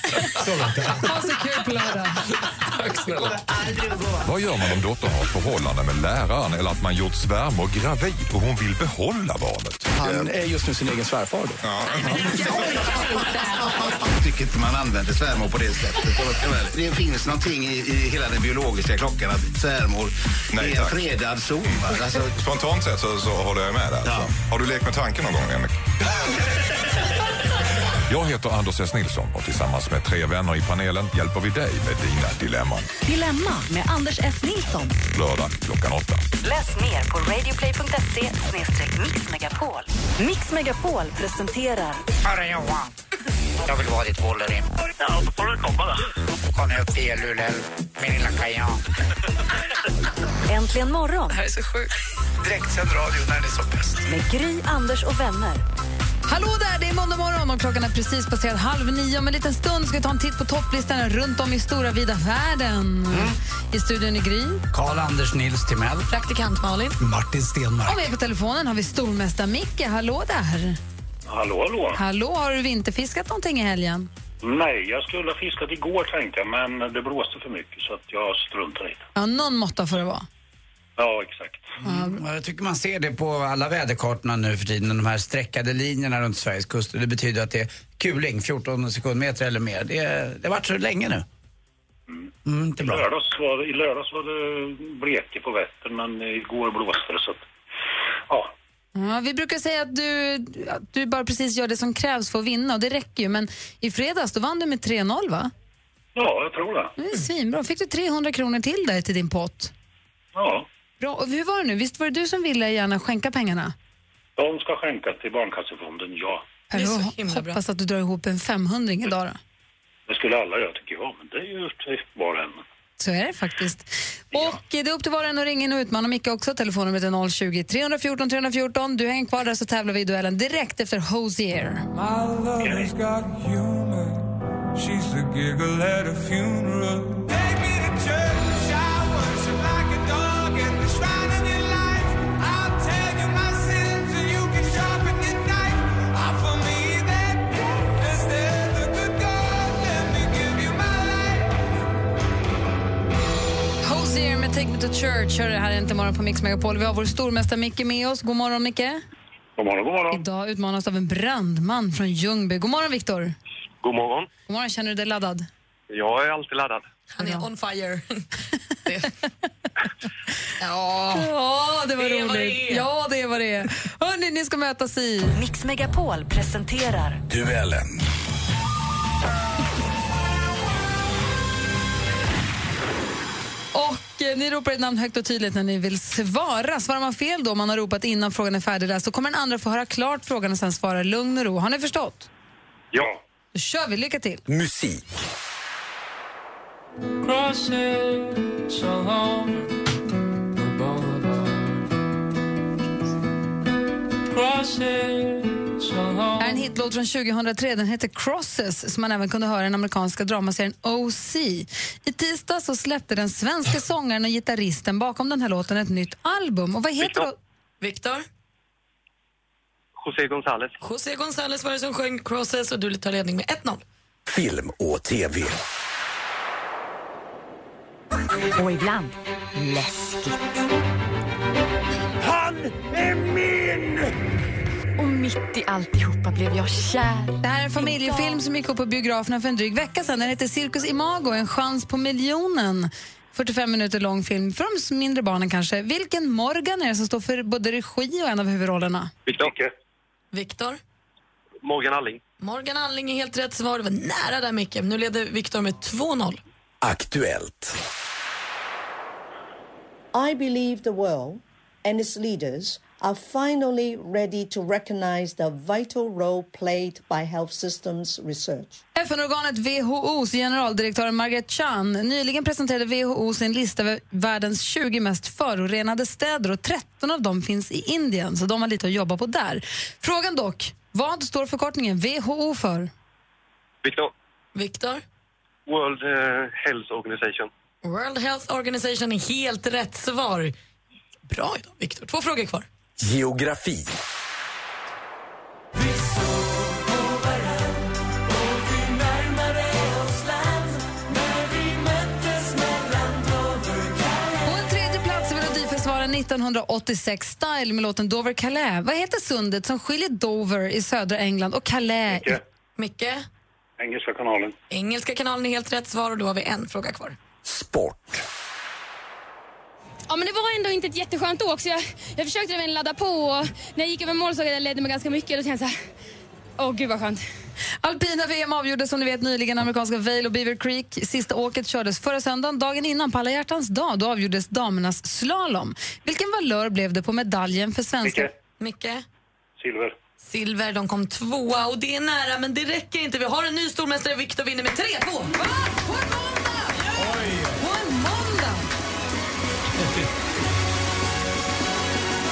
[SPEAKER 4] Ha så kul på lördag.
[SPEAKER 5] Tack snälla.
[SPEAKER 8] Vad gör man om dottern har ett förhållande med läraren eller att man gjort svärmor gravid och hon vill behålla barnet?
[SPEAKER 9] Han är just nu sin egen svärfar. Då.
[SPEAKER 2] Jag tycker inte man använder svärmor på det sättet. Det finns någonting i, i hela den biologiska klockan att svärmor
[SPEAKER 8] Nej,
[SPEAKER 2] är en
[SPEAKER 8] tack.
[SPEAKER 2] fredad zon. va? Alltså,
[SPEAKER 8] Spontant sett så, så håller jag med där. alltså. Har du lekt med tanken någon gång, Henrik? Jag heter Anders S. Nilsson och tillsammans med tre vänner i panelen hjälper vi dig med dina dilemman.
[SPEAKER 3] Dilemma med Anders S. Nilsson.
[SPEAKER 8] Lördag klockan åtta.
[SPEAKER 3] Läs mer på radioplay.se mixmegapol. Mix Megapol presenterar
[SPEAKER 7] Hörru Johan, jag vill vara ditt Wolverine. Ja, då får du komma då. Kom nu upp till Luleå, min lilla kajan.
[SPEAKER 3] Äntligen morgon
[SPEAKER 1] Det här är så sjukt.
[SPEAKER 7] Direktsänd radio när det är som bäst.
[SPEAKER 3] med Gry, Anders och vänner.
[SPEAKER 4] Hallå där, det är måndag morgon och klockan är precis passerat halv nio. Om en liten stund ska vi ta en titt på topplistorna runt om i stora vida världen. I studion i Gry.
[SPEAKER 7] Karl-Anders Nils Timell.
[SPEAKER 1] Praktikant Malin.
[SPEAKER 6] Martin Stenmark.
[SPEAKER 4] Och med på telefonen har vi stormästare Micke. Hallå där.
[SPEAKER 10] Hallå, hallå.
[SPEAKER 4] Hallå, har du vinterfiskat någonting i helgen?
[SPEAKER 10] Nej, jag skulle ha fiskat igår tänkte jag, men det blåste för mycket så att jag struntar i det.
[SPEAKER 4] Ja, någon måtta får det vara.
[SPEAKER 10] Ja, exakt.
[SPEAKER 7] Mm, och jag tycker man ser det på alla väderkartorna nu för tiden, de här streckade linjerna runt Sveriges kust. Det betyder att det är kuling, 14 sekundmeter eller mer. Det, det har varit så länge nu. Mm, det är bra.
[SPEAKER 10] Lördags var, I lördags var det bleke på Vättern, men igår blåste det så att, ja.
[SPEAKER 4] Ja, vi brukar säga att du, att du bara precis gör det som krävs för att vinna och det räcker ju. Men i fredags då vann du med 3-0 va?
[SPEAKER 10] Ja, jag tror det.
[SPEAKER 4] Det är svinbra. Fick du 300 kronor till där till din pott?
[SPEAKER 10] Ja.
[SPEAKER 4] Bra. Och hur var det nu? Visst var det du som ville gärna skänka pengarna?
[SPEAKER 10] De ska skänka till Barncancerfonden, ja.
[SPEAKER 4] Per,
[SPEAKER 1] Det är så
[SPEAKER 4] jag
[SPEAKER 1] himla bra.
[SPEAKER 4] hoppas att du drar ihop en 500 idag då.
[SPEAKER 10] Det skulle alla göra tycker jag, men det är ju upp till var och en.
[SPEAKER 4] Så är det faktiskt. Och det är upp till var och en att ringa in och utmana Micke också. Telefonnumret är 020-314 314. Du hänger kvar där så tävlar vi i duellen direkt efter Hosier. Hosier med Take Me To Church. Hör det här är inte morgon på Mix Megapol. Vi har vår stormästare Micke med oss. God morgon Micke.
[SPEAKER 10] God morgon, god morgon.
[SPEAKER 4] Idag utmanas av en brandman från Ljungby. God morgon Viktor.
[SPEAKER 10] God morgon.
[SPEAKER 4] God morgon, känner du dig laddad?
[SPEAKER 10] Jag är alltid laddad.
[SPEAKER 1] Han är
[SPEAKER 4] Ja.
[SPEAKER 1] on fire. Det- ja.
[SPEAKER 4] Ja, det var
[SPEAKER 1] Det är
[SPEAKER 4] roligt.
[SPEAKER 1] vad det är.
[SPEAKER 4] Ja, det är vad det är. Hörni, ni ska mötas i...
[SPEAKER 3] Mix Megapol presenterar
[SPEAKER 2] Duellen.
[SPEAKER 4] Och eh, ni ropar ett namn högt och tydligt när ni vill svara. Svarar man fel då, om man har ropat innan frågan är färdig där, så kommer den andra få höra klart frågan och sen svara i lugn och ro. Har ni förstått?
[SPEAKER 10] Ja.
[SPEAKER 4] Då kör vi, lycka till!
[SPEAKER 6] Musik.
[SPEAKER 4] Här här är en hitlåt från 2003. Den heter Crosses, som man även kunde höra i den amerikanska dramaserien O.C. I tisdag så släppte den svenska sångaren och gitarristen bakom den här låten ett nytt album. Och vad heter då...
[SPEAKER 1] Viktor?
[SPEAKER 11] José González.
[SPEAKER 1] José González var det som sjöng Crosses och du tar ledning med 1-0.
[SPEAKER 2] Film och TV.
[SPEAKER 3] Och ibland läskigt.
[SPEAKER 2] Han är min!
[SPEAKER 3] Och mitt i alltihopa blev jag kär.
[SPEAKER 4] Det här är en familjefilm som gick upp på biograferna för en dryg vecka sedan. Den heter Cirkus Imago, en chans på miljonen. 45 minuter lång film för de mindre barnen kanske. Vilken Morgan är det som står för både regi och en av huvudrollerna?
[SPEAKER 11] Victor.
[SPEAKER 1] Viktor?
[SPEAKER 11] Morgan Alling.
[SPEAKER 1] Morgan Alling är helt rätt svar. Det var nära där, Micke. Nu leder Viktor med 2-0.
[SPEAKER 2] Aktuellt.
[SPEAKER 12] I believe the world and its leaders are finally ready to recognize the vital role played by health systems research.
[SPEAKER 4] FN-organet WHOs generaldirektör Margaret Chan. Nyligen presenterade WHO sin lista över världens 20 mest förorenade städer och 13 av dem finns i Indien, så de har lite att jobba på där. Frågan dock, vad står förkortningen WHO för?
[SPEAKER 11] Victor.
[SPEAKER 1] Viktor?
[SPEAKER 11] World eh, Health Organization.
[SPEAKER 1] World Health Organization är helt rätt svar. Bra idag, Viktor. Två frågor kvar.
[SPEAKER 2] Geografi.
[SPEAKER 4] På en tredje plats i Melodifestivalen 1986 Style med låten Dover Calais. Vad heter sundet som skiljer Dover i södra England och Calais? i-
[SPEAKER 11] Micke.
[SPEAKER 1] Micke?
[SPEAKER 11] Engelska kanalen.
[SPEAKER 1] Engelska kanalen är helt rätt svar och då har vi en fråga kvar.
[SPEAKER 13] Ja, men det var ändå inte ett jätteskönt åk, så jag, jag försökte även ladda på. Och när jag gick över mål såg jag att jag ledde mig ganska mycket. Då tänkte jag så här, åh gud vad skönt.
[SPEAKER 4] Alpina VM avgjordes som ni vet nyligen amerikanska Vail och Beaver Creek. Sista åket kördes förra söndagen, dagen innan på alla hjärtans dag. Då avgjordes damernas slalom. Vilken valör blev det på medaljen för svenska...
[SPEAKER 11] Micke.
[SPEAKER 1] Micke?
[SPEAKER 11] Silver.
[SPEAKER 1] Silver, de kom tvåa och det är nära men det räcker inte. Vi har en ny stormästare, Viktor vinner med 3-2. På en måndag!
[SPEAKER 4] På en måndag!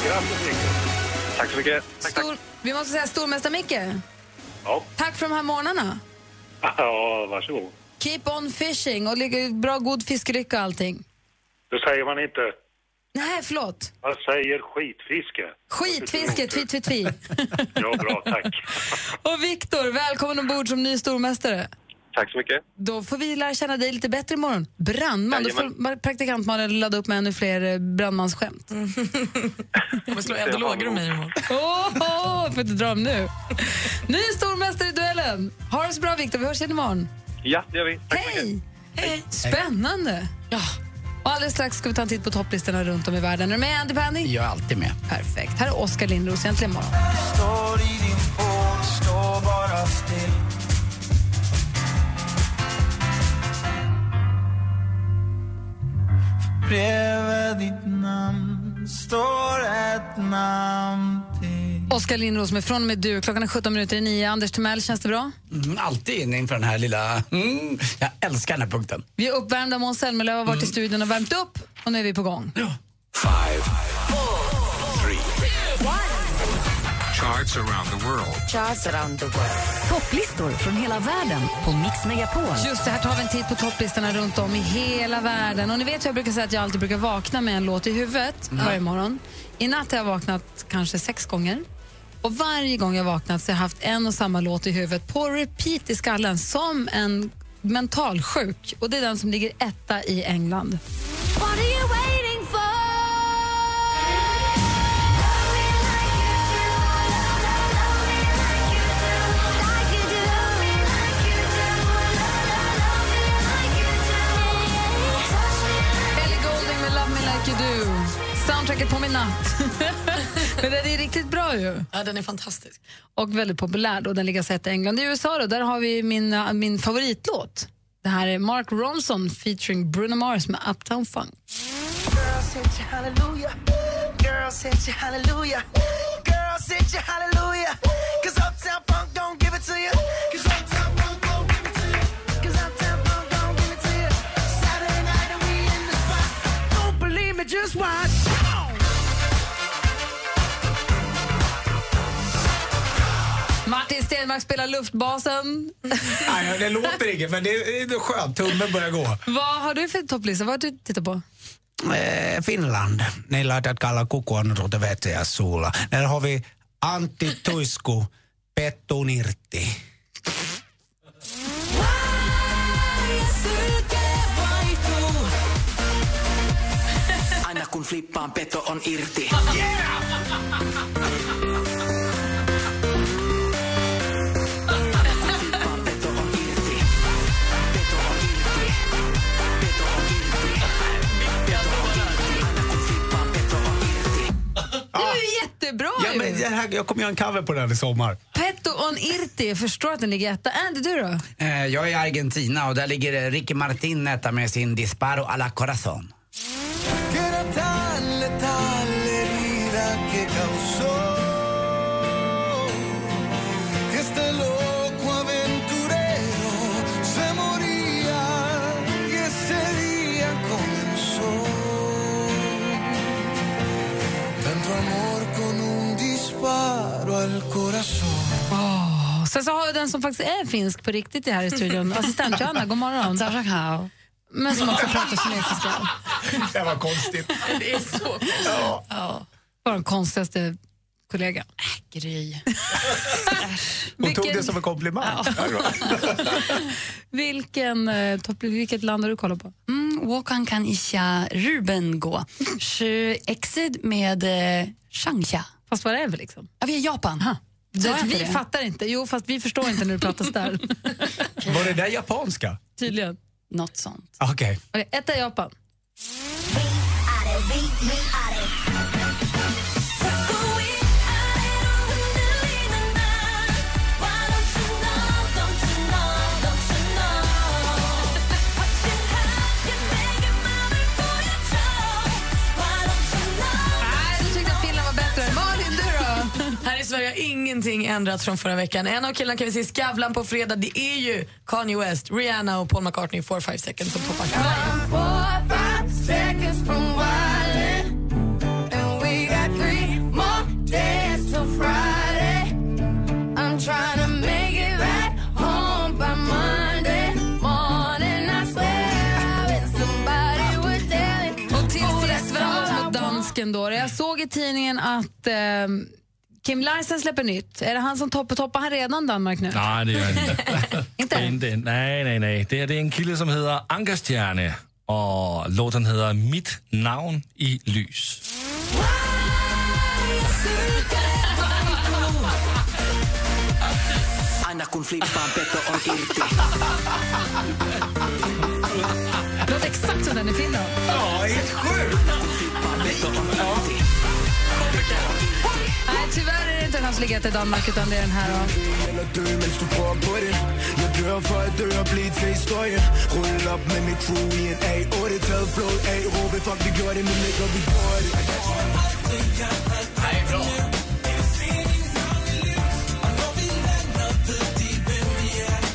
[SPEAKER 11] Grattis, Micke. Tack så mycket. Tack, tack.
[SPEAKER 4] Stor... Vi måste säga stormästare Micke,
[SPEAKER 11] Ja.
[SPEAKER 4] tack för de här morgnarna.
[SPEAKER 11] ja, varsågod.
[SPEAKER 4] Keep on fishing och lycka- bra god fiskelycka och allting.
[SPEAKER 11] Det säger man inte.
[SPEAKER 4] Nej, förlåt.
[SPEAKER 11] Man säger skitfiske.
[SPEAKER 4] Skitfiske, tvi, tvi, tvi.
[SPEAKER 11] Ja, bra. Tack.
[SPEAKER 4] Och Viktor, välkommen ombord som ny stormästare.
[SPEAKER 11] Tack så mycket.
[SPEAKER 4] Då får vi lära känna dig lite bättre imorgon. Brandman. Då får
[SPEAKER 11] Jajamän.
[SPEAKER 4] ma- praktikant Malin ladda upp med ännu fler eh, brandmansskämt.
[SPEAKER 11] Mm.
[SPEAKER 1] Jag vill slå eld och lågor om mig imorgon.
[SPEAKER 4] Åh, får inte dra dem nu. Ny stormästare i duellen. Ha det så bra, Viktor. Vi hörs igen imorgon.
[SPEAKER 11] Ja, det gör vi. Tack så mycket.
[SPEAKER 4] Hej. Spännande. Ja. Och alldeles strax ska vi ta en titt på topplistorna runt om i världen. Är du med, Andy Pandy?
[SPEAKER 7] Jag är alltid med.
[SPEAKER 4] Perfekt. Här är Oskar Lindros, Äntligen morgon.
[SPEAKER 2] Står i din pool, står bara still. Bredvid ditt namn står ett namn
[SPEAKER 4] Oskar Lindros med Från och med du. Klockan är 17 minuter i nio. Anders Timell, känns det bra?
[SPEAKER 7] Mm, alltid inne inför den här lilla... Mm, jag älskar den här punkten.
[SPEAKER 4] Vi är uppvärmda. Måns Zelmerlöw har varit i studion och värmt upp och nu är vi på gång.
[SPEAKER 2] Five, three, charts around the world.
[SPEAKER 3] Topplistor från hela världen på Mix Megapol.
[SPEAKER 4] Just det, här tar vi en titt på topplistorna runt om i hela världen. Och ni vet hur jag brukar säga att jag alltid brukar vakna med en låt i huvudet varje morgon. I natt har jag vaknat kanske sex gånger. Och varje gång jag vaknat så har jag haft en och samma låt i huvudet på repeat i skallen som en mentalsjuk. Och det är den som ligger etta i England.
[SPEAKER 2] What are you waiting for?
[SPEAKER 4] Ellie Goulding med Love Me Like You Do. Soundtracket på min natt. Men den är riktigt bra ju.
[SPEAKER 1] Ja, den är fantastisk.
[SPEAKER 4] Och väldigt populär då. Den ligger alltså etta i England. I USA då, där har vi min, äh, min favoritlåt. Det här är Mark Ronson featuring Bruno Mars med Uptown Funk.
[SPEAKER 2] Just watch.
[SPEAKER 4] Martin Danmark spelar luftbasen.
[SPEAKER 6] Nej, det låter inget, men det är, det är skönt. Tummen börjar gå.
[SPEAKER 4] Vad har du för topplista? Vad har du tittat på?
[SPEAKER 6] Eh, Finland. Ne laitat kalla kukuon ruuta vetäjä suulla. Där har vi Antti Tuisku, Pettu Nirtti.
[SPEAKER 14] Aina kun flippaan, peto on irti.
[SPEAKER 4] Det var ju jättebra
[SPEAKER 6] Ah. Ja,
[SPEAKER 4] ju.
[SPEAKER 6] men det här, jag kommer göra en cover på den i sommar.
[SPEAKER 4] Petto on Irti, jag förstår att den ligger etta. Andy, du då?
[SPEAKER 7] Eh, Jag är i Argentina och där ligger eh, Ricky Martin etta med sin Disparo alla corazon.
[SPEAKER 4] Åh, Sen så har vi den som faktiskt är finsk på riktigt här i studion. Assistent Johanna, god morgon. Men som också pratar kinesiska.
[SPEAKER 6] Det var konstigt.
[SPEAKER 4] Det är så konstigt. Ja. Vår konstigaste kollega. Äh, gry.
[SPEAKER 6] Hon tog
[SPEAKER 4] Vilken-
[SPEAKER 6] det som en komplimang. Ja, det var-
[SPEAKER 4] Vilken, eh, topp- vilket land har du kollat på?
[SPEAKER 15] Mm, Wokan kan isha Ruben gå. Shu exid med eh, Shangsha.
[SPEAKER 4] Fast var är vi liksom?
[SPEAKER 15] Ja, vi är i Japan.
[SPEAKER 4] Så
[SPEAKER 15] Sa jag
[SPEAKER 4] att Alltså, vi
[SPEAKER 15] inte det?
[SPEAKER 4] fattar inte. Jo, fast vi förstår inte när du pratar där.
[SPEAKER 6] Var det där japanska?
[SPEAKER 4] Tydligen.
[SPEAKER 15] Något sånt.
[SPEAKER 6] Okej.
[SPEAKER 4] Okej, ett är Japan. Nej, du tyckte att Finland var bättre. Malin, du då?
[SPEAKER 1] Här i Sverige har ingenting ändrats från förra veckan. En av killarna kan vi se i Skavlan på fredag. Det är ju Kanye West, Rihanna och Paul McCartney i 4-5 seconds som toppar Skavlan.
[SPEAKER 16] I'm trying to make it back home by Monday morning. I swear I wish somebody would tell it.
[SPEAKER 4] Och till sist var mot dansken då. Jag såg i tidningen att eh, Kim Larsen släpper nytt. Är det han som toppar? Toppar han redan Danmark nu?
[SPEAKER 17] Nej, det gör han inte.
[SPEAKER 4] Inte?
[SPEAKER 17] inte. Nej, nej, nej. Det, her, det är en kille som heter Ankerstjerne och låten heter Mitt namn i lys.
[SPEAKER 14] Aina kun flippaan, peto on irti.
[SPEAKER 4] Det låter exakt som den i Finland.
[SPEAKER 14] Ja, helt sjukt!
[SPEAKER 4] Nej, tyvärr är det inte den här som ligger etta i Danmark utan det är den här. Då.
[SPEAKER 18] Eller dø, mens du prøver på det Jeg dør for at dø og blive til historie Rulle op med mit crew i en A8 Taget flået af, råbe fuck vi gjorde det Nu ligger vi på det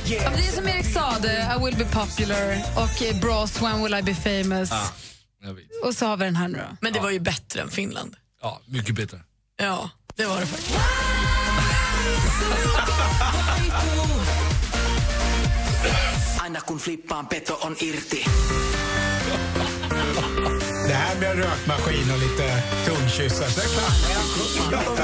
[SPEAKER 4] Ja, men Det är som Erik sa, det, I will be popular och eh, Bros, when will I be famous.
[SPEAKER 17] Ja, jag vet.
[SPEAKER 4] Och så har vi den här nu då.
[SPEAKER 1] Men det var ju bättre än Finland.
[SPEAKER 17] Ja, mycket bättre.
[SPEAKER 1] Ja, det var det faktiskt.
[SPEAKER 14] Aina kun flippaan, peto on irti.
[SPEAKER 6] Det här med rökmaskin och lite tungkyssar. Det är klart.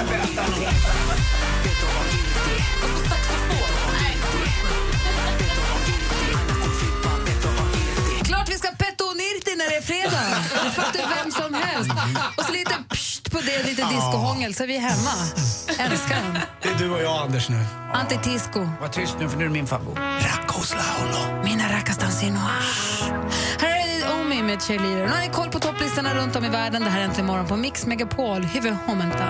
[SPEAKER 4] Klart vi ska petto och nirti när det är fredag! Det fattar vem som helst. Och så lite pst på det, lite discohångel, så är vi hemma. Älskar den.
[SPEAKER 6] Det är du och jag, Anders, nu.
[SPEAKER 4] Antitisco.
[SPEAKER 7] Var tyst nu för nu är det min favorit.
[SPEAKER 4] Mina rackastans Här är Omi med Cheerleader. Nu har ni koll på topplistorna runt om i världen. Det här är Äntligen morgon på Mix Megapol. Hyvö Homenta.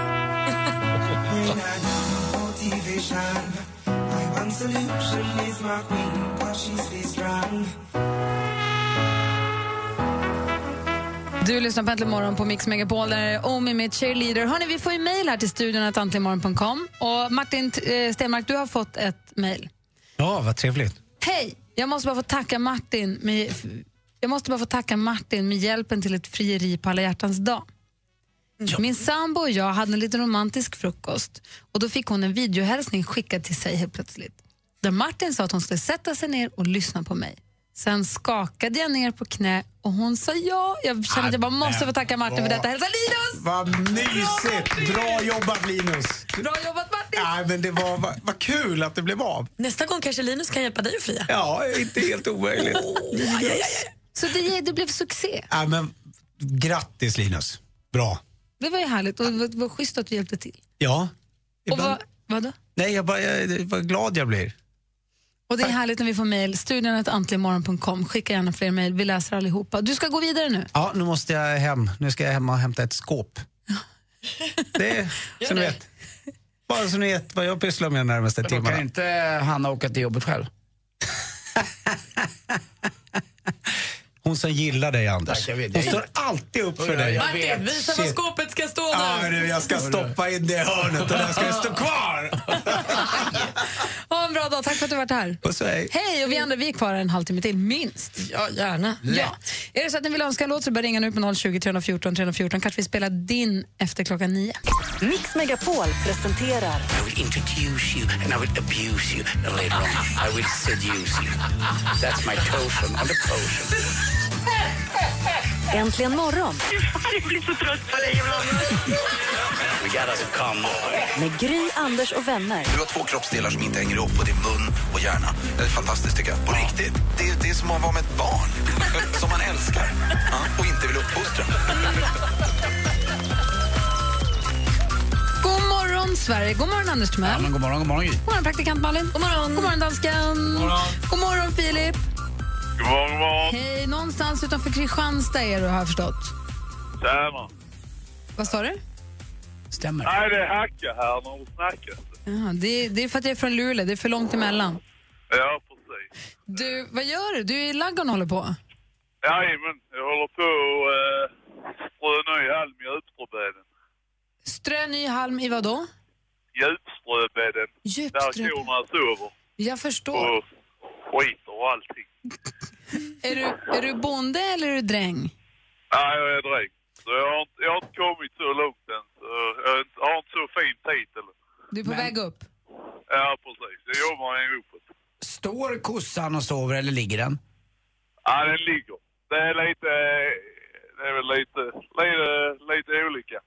[SPEAKER 4] Du lyssnar på Äntligen morgon på Mix Megapol. Där är Omi med Cheerleader. Hörrni, vi får ju mejl här till studion, att antligenmorgon.com. Och Martin eh, Stenmark, du har fått ett mejl.
[SPEAKER 6] Ja, vad trevligt.
[SPEAKER 4] Hej! Jag måste bara få tacka Martin med, jag måste bara få tacka Martin med hjälpen till ett frieri på alla hjärtans dag. Min sambo och jag hade en liten romantisk frukost och då fick hon en videohälsning skickad till sig helt plötsligt. Där Martin sa att hon skulle sätta sig ner och lyssna på mig. Sen skakade jag ner på knä och hon sa ja. Jag kände att jag bara måste få tacka Martin för detta. Hälsa Linus!
[SPEAKER 6] Vad mysigt! Bra jobbat Linus!
[SPEAKER 4] Bra jobbat Martin!
[SPEAKER 6] Nej, men det var, vad, vad kul att det blev av.
[SPEAKER 1] Nästa gång kanske Linus kan hjälpa dig att fria.
[SPEAKER 6] Ja, inte helt omöjligt.
[SPEAKER 4] Så det, det blev succé.
[SPEAKER 6] Nej, men, grattis Linus. Bra.
[SPEAKER 4] Det var ju härligt och det var- det var schysst att du hjälpte till.
[SPEAKER 6] Ja.
[SPEAKER 4] Och
[SPEAKER 6] Ibland-
[SPEAKER 4] vad, vadå?
[SPEAKER 6] Nej, jag bara, jag, vad glad jag blir.
[SPEAKER 4] Och det är härligt när vi får mejl. Studionetantligmorgon.com. Skicka gärna fler mejl. Vi läser allihopa. Du ska gå vidare nu.
[SPEAKER 6] Ja, nu måste jag hem. Nu ska jag hem och hämta ett skåp. Det är, så ni vet. Bara så ni vet vad jag pysslar med de närmaste
[SPEAKER 7] Då kan
[SPEAKER 6] timmarna.
[SPEAKER 7] inte Hanna åka till jobbet själv.
[SPEAKER 6] Hon som gillar dig, Anders.
[SPEAKER 7] Tack, jag vet.
[SPEAKER 6] Hon
[SPEAKER 7] Jag-
[SPEAKER 6] står alltid upp för
[SPEAKER 7] Ja,
[SPEAKER 6] dig.
[SPEAKER 7] jag
[SPEAKER 1] Martin, visa var
[SPEAKER 6] Shit.
[SPEAKER 1] skåpet ska stå
[SPEAKER 6] Ja,
[SPEAKER 1] nu.
[SPEAKER 6] du, jag ska stoppa in det i hörnet och där ska det stå kvar.
[SPEAKER 4] Ha en bra dag. Tack för att du varit här.
[SPEAKER 6] Puss och hej.
[SPEAKER 4] Hej! Och vi andra vi är kvar en halvtimme till, minst.
[SPEAKER 1] Ja, gärna.
[SPEAKER 4] Ja. Är det så att ni vill önska en låt så bara ringa nu på 020 314 314. Kanske vi spelar din efter klockan nio.
[SPEAKER 3] Mix Megapol presenterar
[SPEAKER 2] I will introduce you and I will abuse you. And later on, I will seduce you. That's my potion on the potion.
[SPEAKER 3] Äntligen morgon
[SPEAKER 2] Jag blir så trött på dig ibland. We got us come on.
[SPEAKER 3] med Gry, Anders och vänner.
[SPEAKER 2] Du har två kroppsdelar som inte hänger ihop och det är mun och hjärna. Det är fantastiskt tycker jag. På riktigt. Det är, det är som att vara med ett barn. som man älskar. Ja, och inte vill uppfostra.
[SPEAKER 4] God morgon, Sverige. God morgon, Anders Timell. Ja,
[SPEAKER 7] god morgon, god morgon, Gry.
[SPEAKER 4] God morgon, praktikant Malin. God morgon, god morgon dansken. God morgon, god morgon Filip.
[SPEAKER 11] God morgon, god morgon.
[SPEAKER 4] Hej. Någonstans utanför Kristianstad är du, har jag förstått.
[SPEAKER 11] Stämmer.
[SPEAKER 4] Vad sa du?
[SPEAKER 7] Stämmer.
[SPEAKER 11] Nej, det är hacka här när du snackar.
[SPEAKER 4] Ja, det, det är för att jag är från Luleå. Det är för långt emellan.
[SPEAKER 11] Ja, precis.
[SPEAKER 4] Du, vad gör du? Du är i ladugården och håller på.
[SPEAKER 11] Jajamän, jag håller på och eh, strö ny halm i djupströbädden.
[SPEAKER 4] Strö ny halm i vad då?
[SPEAKER 11] Djupströbädden. Där
[SPEAKER 4] Djupströ-
[SPEAKER 11] korna sover.
[SPEAKER 4] Jag förstår.
[SPEAKER 11] Och skiter och allting.
[SPEAKER 4] Är, du, är du bonde eller är du dräng?
[SPEAKER 11] Nej, jag är dräng. Så jag har, inte, jag har inte kommit så långt än. Så jag har inte- har inte så fin titel.
[SPEAKER 4] Du är på väg upp.
[SPEAKER 11] Ja, precis. Det jobbar jag ihop.
[SPEAKER 7] Står kossan och sover eller ligger den?
[SPEAKER 11] Ja, den ligger. Det är lite... Det är väl lite, lite, lite olika.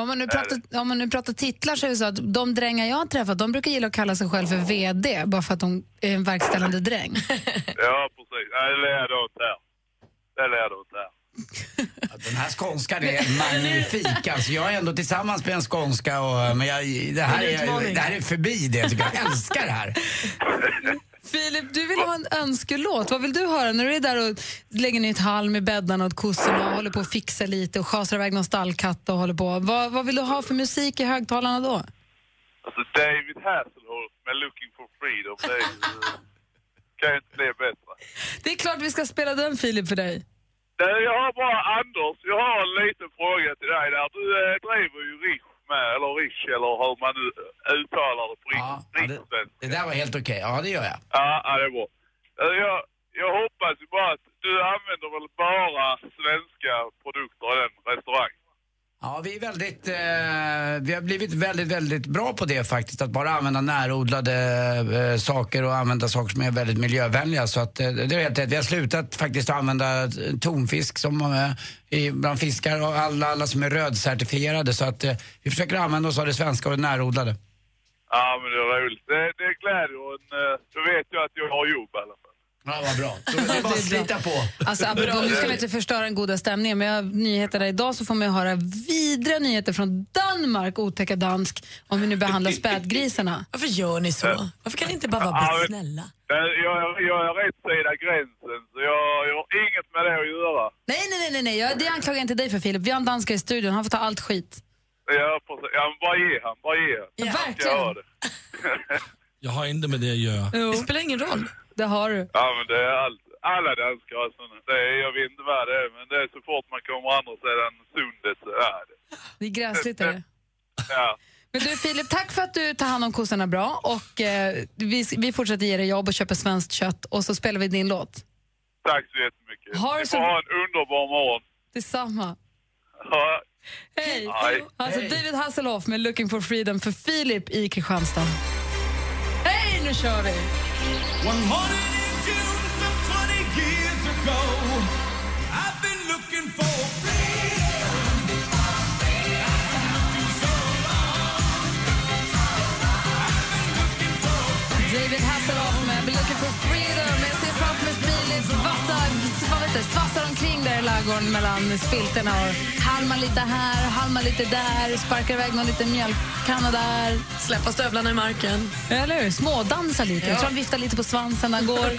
[SPEAKER 4] Om man, nu pratar, om man nu pratar titlar så är det så att de drängar jag har träffat de brukar gilla att kalla sig själv för VD bara för att de är en verkställande dräng.
[SPEAKER 11] Ja, precis. Nej, det lär du inte här. Det lär du inte här.
[SPEAKER 7] Den här skånskan är magnifik. Alltså, jag är ändå tillsammans med en skånska, och, men jag, det, här
[SPEAKER 4] Det är en
[SPEAKER 7] är,
[SPEAKER 4] utmaning.
[SPEAKER 7] det här är förbi det. tycker Jag Jag älskar det här.
[SPEAKER 4] Filip, du vill ha en önskelåt. Vad vill du höra när du är där och lägger nytt halm i bäddarna åt kossorna och håller på att fixa lite och schasar iväg någon stallkatt och håller på. Vad, vad vill du ha för musik i högtalarna då?
[SPEAKER 11] Alltså, David Hasselhoff med Looking for Freedom, det är, ju- kan ju inte bli bättre.
[SPEAKER 4] Det är klart vi ska spela den Filip för dig.
[SPEAKER 11] Du, jag har bara, Anders, jag har en liten fråga till dig där. Du eh, driver ju Rish med, eller Rish, eller hur man nu eh, uttalar det på ja, rikssvenska.
[SPEAKER 7] Det där var helt okej. Ja, det gör jag.
[SPEAKER 11] Ja, ja, det är bra. Eh, Jag, jag hoppas ju bara att du använder väl bara svenska produkter i den restaurangen?
[SPEAKER 7] Ja, vi är väldigt, eh, vi har blivit väldigt, väldigt bra på det faktiskt. Att bara använda närodlade eh, saker och använda saker som är väldigt miljövänliga. Så att eh, det är helt rätt. Vi har slutat faktiskt att använda tonfisk som eh, i, bland fiskar och alla, alla som är rödcertifierade. Så att eh, vi försöker använda oss av det svenska och det närodlade.
[SPEAKER 11] Ja, men det är roligt. Det, det gläder och en, eh, då vet jag att jag har jobb i alla fall.
[SPEAKER 7] Ja, vad bra. Så det är bara att slita på.
[SPEAKER 4] Alltså, apropå, nu ska vi inte förstöra den goda stämningen, men jag har nyheter där idag så får man ju höra vidriga nyheter från Danmark, otäcka dansk, om vi nu behandlar spädgrisarna.
[SPEAKER 1] Varför gör ni så? Varför kan ni inte bara vara
[SPEAKER 11] Eh. Ja, men-
[SPEAKER 1] snälla?
[SPEAKER 11] Eh, Jag, jag, jag är rätt sida gränsen, så jag, jag har inget med det att göra.
[SPEAKER 4] Nej, nej, nej, nej, nej. Jag- det anklagar jag inte dig för Filip. Vi har en danskare i studion, han får ta allt skit.
[SPEAKER 11] Jag, precis. ja, men bara ge han, bara ge han.
[SPEAKER 4] Ja,
[SPEAKER 11] Han ska
[SPEAKER 4] verkligen.
[SPEAKER 11] ha det.
[SPEAKER 17] Jag har inte med det att göra.
[SPEAKER 4] Det spelar ingen roll. Det har du.
[SPEAKER 11] Ja, men det är allt. Alla danskar har såna. Det är, jag vet inte vad det är, men det är så fort man kommer andra sidan sundet så är det.
[SPEAKER 4] Det är gräsligt. Är det.
[SPEAKER 11] Ja.
[SPEAKER 4] Men du Filip, tack för att du tar hand om kossorna bra och eh, vi, vi fortsätter ge dig jobb och köper svenskt kött och så spelar vi din låt.
[SPEAKER 11] Tack så jättemycket.
[SPEAKER 4] Ha det
[SPEAKER 11] Ni
[SPEAKER 4] så
[SPEAKER 11] får
[SPEAKER 4] bra.
[SPEAKER 11] ha en underbar morgon.
[SPEAKER 4] Detsamma.
[SPEAKER 11] Ha,
[SPEAKER 4] Hej! Alltså David Hasselhoff med Looking for freedom för Filip i Kristianstad. Hej, nu kör vi!
[SPEAKER 16] One morning in June some 20 years ago, I've been looking for freedom.
[SPEAKER 4] David Hasselhoff med Looking for freedom. Jag ser framför mig Filip vassa, vad vet det, svassar omkring där i ladugården mellan spilterna och halmar lite här, halmar lite där, sparkar iväg någon liten mjölkkanna där.
[SPEAKER 1] Släppa stövlarna i marken.
[SPEAKER 4] Eller hur? Smådansar lite. Jag tror han viftar lite på svansen när han går.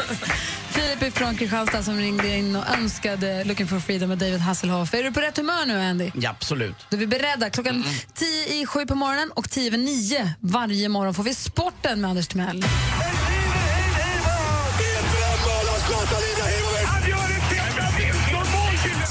[SPEAKER 4] Filip är från Kristianstad som ringde in och önskade Looking for freedom med David Hasselhoff. Är du på rätt humör nu, Andy?
[SPEAKER 7] Ja, absolut.
[SPEAKER 4] Då är vi beredda. Klockan 10 i sju på morgonen och 10 över 9 varje morgon får vi sporten med Anders Timell.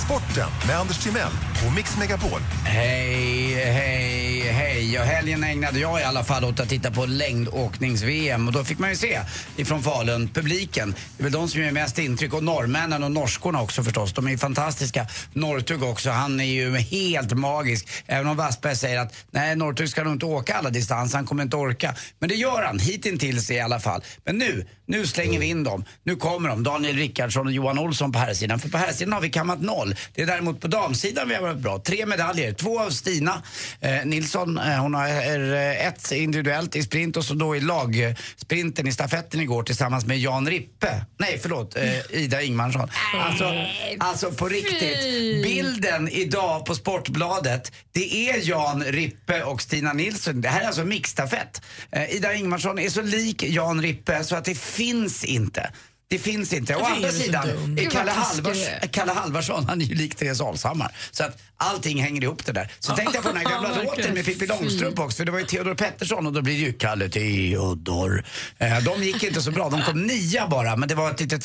[SPEAKER 19] Sporten med Anders Timell och Mix Megapol.
[SPEAKER 7] Hej, hej, hej. Och helgen ägnade jag i alla fall åt att titta på längdåknings-VM och då fick man ju se ifrån Falun, publiken. Det är väl de som gör mest intryck och norrmännen och norskorna också förstås. De är ju fantastiska. Norrtug också, han är ju helt magisk. Även om Wassberg säger att nej, Norrtug ska nog inte åka alla distanser, han kommer inte orka. Men det gör han, hittills i alla fall. Men nu, nu slänger vi in dem. Nu kommer de, Daniel Rickardsson och Johan Olsson på här sidan. För på här sidan har vi kammat noll. Det är däremot på damsidan vi har varit bra. Tre medaljer, två av Stina eh, Nilsson. Eh, hon har eh, ett individuellt i sprint och så då i lagsprinten i stafetten igår tillsammans med Jan Rippe. Nej, förlåt, eh, Ida Ingmarsson. Alltså, alltså på riktigt, bilden idag på Sportbladet, det är Jan Rippe och Stina Nilsson. Det här är alltså mixstafett. Eh, Ida Ingmarsson är så lik Jan Rippe så att det finns inte. Det finns inte. Å
[SPEAKER 16] Varför
[SPEAKER 7] andra
[SPEAKER 16] är du så
[SPEAKER 7] sidan,
[SPEAKER 16] dum?
[SPEAKER 7] är
[SPEAKER 16] Gud,
[SPEAKER 7] Kalle,
[SPEAKER 16] vad taskig
[SPEAKER 7] Halvars,
[SPEAKER 16] du är.
[SPEAKER 7] Kalle Halvarsson han är ju lik Therese Alshammar. Så att allting hänger ihop det där. Så tänkte jag på den här gamla
[SPEAKER 16] Verkligen.
[SPEAKER 7] låten med Pippi Långstrump
[SPEAKER 16] Fy.
[SPEAKER 7] också, för det var ju Theodor Pettersson och då blir det ju Kalle Theodor. Eh, de gick inte så bra, de kom nia bara, men det var ett litet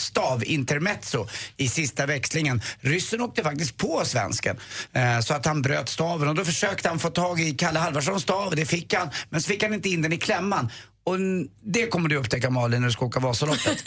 [SPEAKER 7] stavintermezzo i sista växlingen. Ryssen åkte faktiskt på svensken, eh, så att han bröt staven och då försökte han få tag i Kalle Halvarssons stav, det fick han, men så fick han inte in den i klämman. Och n- det kommer du upptäcka Malin när du ska åka Vasaloppet.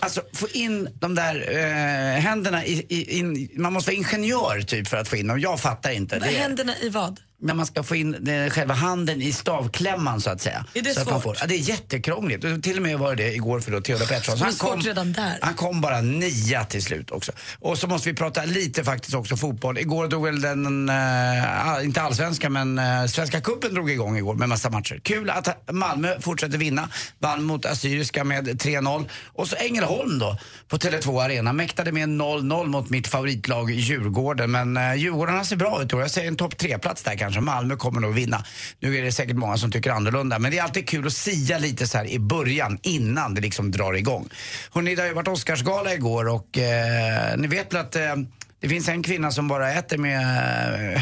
[SPEAKER 7] Alltså få in de där eh, händerna i, i, in, man måste vara ingenjör typ för att få in dem. Jag fattar inte.
[SPEAKER 1] Med
[SPEAKER 7] Det är-
[SPEAKER 1] händerna i vad?
[SPEAKER 7] när man ska få in eh, själva handen i stavklämman så att säga.
[SPEAKER 1] Är det
[SPEAKER 7] så Att man
[SPEAKER 1] svårt? Ah,
[SPEAKER 7] ja, det är jättekrångligt. Och Till och med var det igår för då Theodor Pettersson.
[SPEAKER 1] Det
[SPEAKER 7] Så
[SPEAKER 1] är
[SPEAKER 7] han
[SPEAKER 1] svårt
[SPEAKER 7] kom,
[SPEAKER 1] redan där.
[SPEAKER 7] han kom bara nia till slut också. Och så måste vi prata lite faktiskt också fotboll. Igår drog väl den, eh, all- inte allsvenskan men eh, Svenska cupen drog igång igår med massa matcher. Kul att Malmö fortsätter vinna. Vann mot Assyriska med 3-0. Och så Ängelholm då på Tele2 Arena. Mäktade med 0-0 mot mitt favoritlag Djurgården. Men eh, Djurgårdarna ser bra ut tror jag. Jag säger en topp tre-plats där kanske. Malmö kommer nog vinna. Nu är det säkert många som tycker annorlunda. Men det är alltid kul att sia lite så här i början innan det liksom drar igång. Hörrni, det har ju varit Oscarsgala igår och eh, ni vet väl att eh, det finns en kvinna som bara äter med,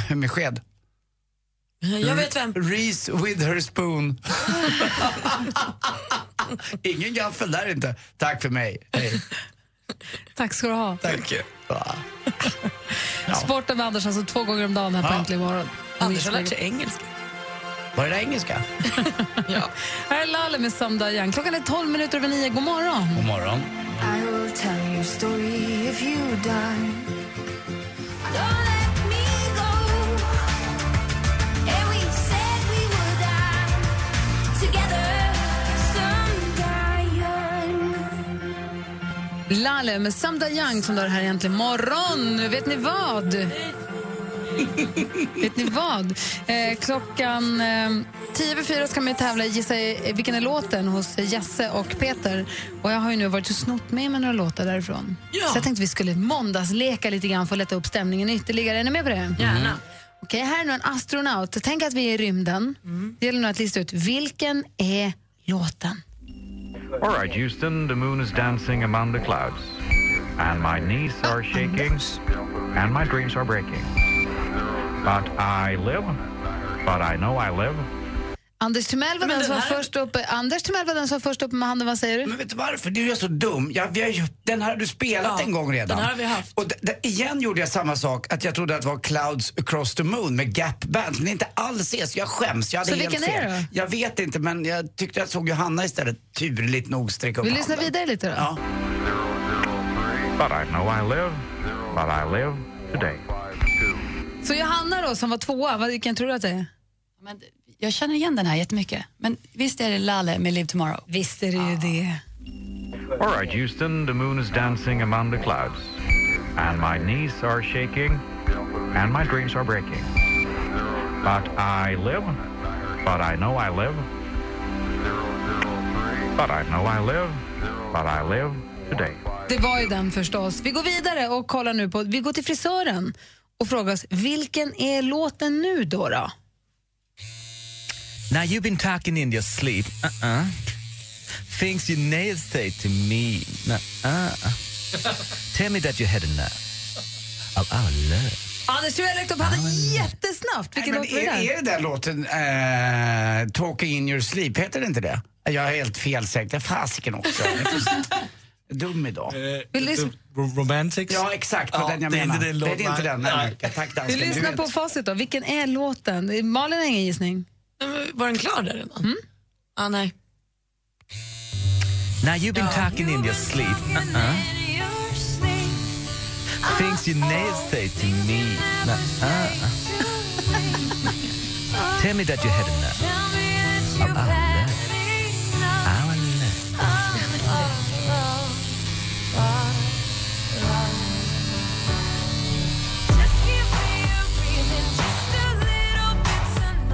[SPEAKER 7] eh, med sked.
[SPEAKER 1] Jag
[SPEAKER 7] Mm.
[SPEAKER 1] vet vem.
[SPEAKER 7] Reese Witherspoon. Ingen gaffel där inte. Tack för mig. Hej.
[SPEAKER 4] Tack ska du ha.
[SPEAKER 7] Tack.
[SPEAKER 4] Sporten med Anders alltså två gånger om dagen här på Äntligen morgon.
[SPEAKER 1] Anders har lärt sig engelska.
[SPEAKER 7] Var det där engelska?
[SPEAKER 4] Här är Lalle med Söndag igen. Klockan är 12 minuter över nio. God morgon.
[SPEAKER 7] God morgon.
[SPEAKER 16] I will tell you a story if you die.
[SPEAKER 4] Lalle med Samda Young som dör här egentligen morgon. Vet ni vad? Vet ni vad? Eh, klockan eh, tio över fyra ska man ju tävla i Gissa eh, vilken är låten hos Jesse och Peter. Och Jag har ju nu varit och snott med mig några låtar därifrån. Så jag tänkte vi skulle måndagsleka lite grann för att lätta upp stämningen ytterligare. Är ni med på det?
[SPEAKER 16] Gärna. Mm.
[SPEAKER 4] Okej, här är nu en astronaut. Tänk att vi är i rymden. Det gäller nu att lista ut vilken är låten.
[SPEAKER 20] All right, Houston, the moon is dancing among the clouds. And my knees are shaking. And my dreams are breaking. But I live. But I know I live.
[SPEAKER 4] Anders Timell var den, som var först uppe. Anders Timell var den som var först uppe med handen. Vad säger du?
[SPEAKER 7] Men vet du varför? Du är så dum. Ja, vi har ju, den här har du spelat en gång redan.
[SPEAKER 1] den här har vi haft.
[SPEAKER 7] Och d- d- igen gjorde jag samma sak, att jag trodde att det var Clouds Across the Moon med Gap Band, som det inte alls är, så jag skäms. Jag hade
[SPEAKER 4] Så
[SPEAKER 7] helt
[SPEAKER 4] vilken är
[SPEAKER 7] fel.
[SPEAKER 4] det då?
[SPEAKER 7] Jag vet inte, men jag tyckte jag såg Johanna istället turligt nog sträcka upp
[SPEAKER 4] Vi lyssnar
[SPEAKER 7] handen.
[SPEAKER 4] vidare lite då.
[SPEAKER 7] Ja.
[SPEAKER 20] But I know I live. But I live today.
[SPEAKER 4] Så Johanna då, som var tvåa, vad- vilken tror du att det är?
[SPEAKER 15] Men jag känner igen den här jättemycket. Men visst är det Lalle med Live Tomorrow?
[SPEAKER 4] Visst är det ju det.
[SPEAKER 20] All right, Houston, the moon is dancing among the clouds. And my knees are shaking. And my dreams are breaking. But I live. But I know I live. But I know I live. But I live today.
[SPEAKER 4] Det var ju den förstås. Vi går vidare och kollar nu på, vi går till frisören och frågar oss, vilken är låten nu då? då?
[SPEAKER 21] Now you've been talking in your sleep. Uh-uh. Things you nail say to me. Uh-uh. Tell me that you had enough of our love.
[SPEAKER 4] Anders Timell och hade jättesnabbt. Vilken
[SPEAKER 7] Men
[SPEAKER 4] låt var det
[SPEAKER 7] är,
[SPEAKER 4] där?
[SPEAKER 7] är det den låten, eh, Talking in your sleep, heter det inte det? Jag är helt felsäker, fasiken också. Jag är så Dum idag.
[SPEAKER 17] Eh,
[SPEAKER 4] Vi lyssn-
[SPEAKER 17] Romantics?
[SPEAKER 7] Ja, exakt. Det var den jag
[SPEAKER 17] det är
[SPEAKER 7] menar.
[SPEAKER 17] inte den
[SPEAKER 7] det
[SPEAKER 17] låten.
[SPEAKER 7] är inte den. Nej. Tack dansken.
[SPEAKER 4] Vi lyssnar
[SPEAKER 7] Du
[SPEAKER 4] på
[SPEAKER 7] vet.
[SPEAKER 4] facit då. Vilken är låten? Malin har ingen gissning.
[SPEAKER 1] Var den klar där redan? Ah, nej.
[SPEAKER 21] Now you've been
[SPEAKER 1] Ja.
[SPEAKER 21] talking in your sleep. Uh-uh. Things you nail say to me. Uh-uh. Tell me that you had enough of our love. Our love.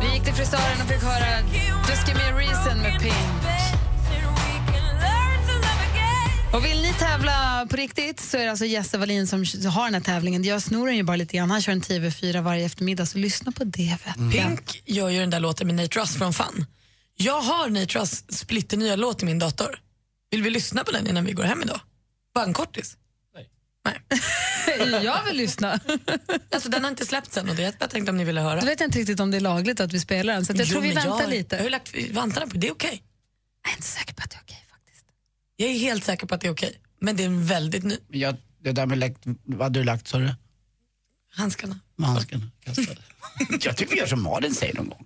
[SPEAKER 4] Vi gick till frisören och fick höra Just Give Me A Reason med Pink. Och vill ni tävla på riktigt så är det alltså Jesse Wallin som har den här tävlingen. Jag snor den ju bara lite grann. Han kör en TV4 varje eftermiddag, så lyssna på det. Vet jag.
[SPEAKER 1] Pink gör ju den där låten med Nate Russ från Fun. Jag har Nate Russ splitter nya låt i min dator. Vill vi lyssna på den innan vi går hem idag? Bara en kortis.
[SPEAKER 4] Mm. jag vill lyssna.
[SPEAKER 1] alltså, den har inte släppts än och det, jag tänkte om ni ville höra.
[SPEAKER 4] Då vet jag inte riktigt om det är lagligt att vi spelar den, så att jag
[SPEAKER 1] Jo,
[SPEAKER 4] tror vi
[SPEAKER 1] men
[SPEAKER 4] väntar
[SPEAKER 1] jag,
[SPEAKER 4] lite.
[SPEAKER 1] Jag har ju lagt vantarna på, det är okej.
[SPEAKER 4] Jag är inte säker på att det är okej
[SPEAKER 1] faktiskt. Jag är helt säker på att det är okej. Men det är en väldigt ny.
[SPEAKER 7] Jag, det där med läkt, vad hade du lagt sa du?
[SPEAKER 1] Handskarna.
[SPEAKER 7] Med handskarna kastade. jag tycker vi gör som Malin säger någon gång.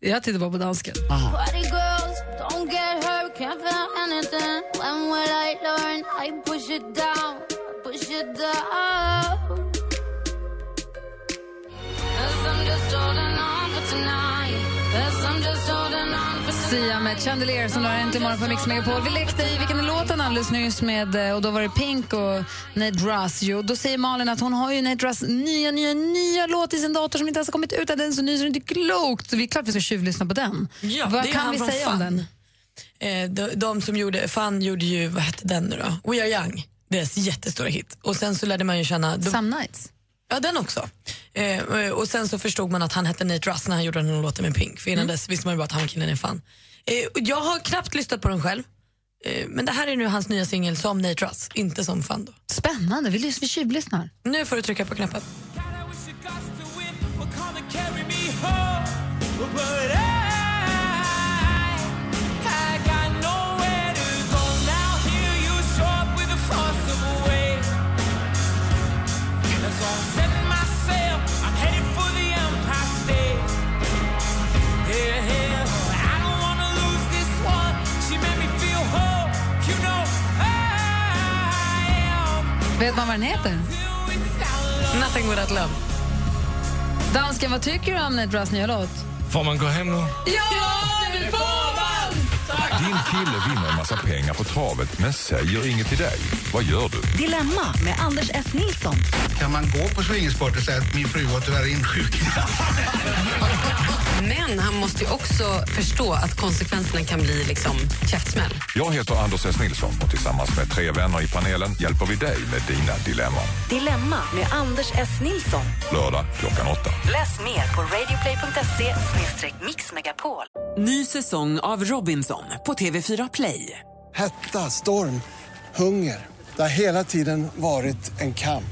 [SPEAKER 4] Jag tittar bara på dansken.
[SPEAKER 16] Party girls, don't get hurt, can't feel anything. When will I learn? I push it down, push it down. 'Cause I'm just holding on for tonight. 'Cause I'm just holding on for
[SPEAKER 4] Sia med Chandelier som du har äntligen imorgon på Mix Megapol. Vi lekte i Vilken är låten alldeles nyss med, eh, och då var det Pink och Nate Russ. Jo, då säger Malin att hon har ju Nate Russ nya, nya, nya låt i sin dator som inte ens har kommit ut. Den är så ny så det är inte klokt. Så vi är klart vi ska tjuvlyssna på den.
[SPEAKER 1] Ja,
[SPEAKER 4] Vad
[SPEAKER 1] det är
[SPEAKER 4] kan
[SPEAKER 1] han
[SPEAKER 4] vi
[SPEAKER 1] från
[SPEAKER 4] säga om
[SPEAKER 1] Fun.
[SPEAKER 4] den?
[SPEAKER 1] Eh, de, de som gjorde, fan gjorde ju, vad hette den nu då? We Are Young, deras jättestora hit. Och sen så lärde man ju känna...
[SPEAKER 4] Some Nights.
[SPEAKER 1] Ja, den också. Eh, och sen så förstod man att han hette Nate Russ när han gjorde den här låten med Pink. För innan dess visste man ju bara att han var killen i fan. Eh, och jag har knappt lyssnat på den själv. Eh, men det här är nu hans nya singel som Nate Russ, inte som fan då.
[SPEAKER 4] Spännande, vi, lys- vi tjuvlyssnar.
[SPEAKER 1] Nu får du trycka på knappen.
[SPEAKER 4] Vet man vad den heter?
[SPEAKER 1] Nothing without love.
[SPEAKER 4] Dansken, vad tycker du om Nate Russ nya låt?
[SPEAKER 17] Får man gå hem nu?
[SPEAKER 4] Ja, det får man!
[SPEAKER 8] Din kille vinner en massa pengar på travet men säger inget till dig. Vad gör du?
[SPEAKER 3] Dilemma med Anders S. Nilsson.
[SPEAKER 2] Kan man gå på swingersport och säga att min fru var tyvärr insjuknad?
[SPEAKER 22] Men han måste ju också förstå att konsekvenserna kan bli liksom käftsmäll.
[SPEAKER 8] Jag heter Anders S. Nilsson och tillsammans med tre vänner i panelen hjälper vi dig med dina dilemman.
[SPEAKER 3] Dilemma med Anders S. Nilsson.
[SPEAKER 8] Lördag klockan åtta.
[SPEAKER 3] Läs mer på radioplay.se mixmegapol.
[SPEAKER 14] Ny säsong av Robinson på TV4 Play.
[SPEAKER 23] Hetta, storm, hunger. Det har hela tiden varit en kamp.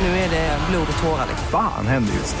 [SPEAKER 14] Nu är det blod och tårar.
[SPEAKER 24] Fan händer just nu.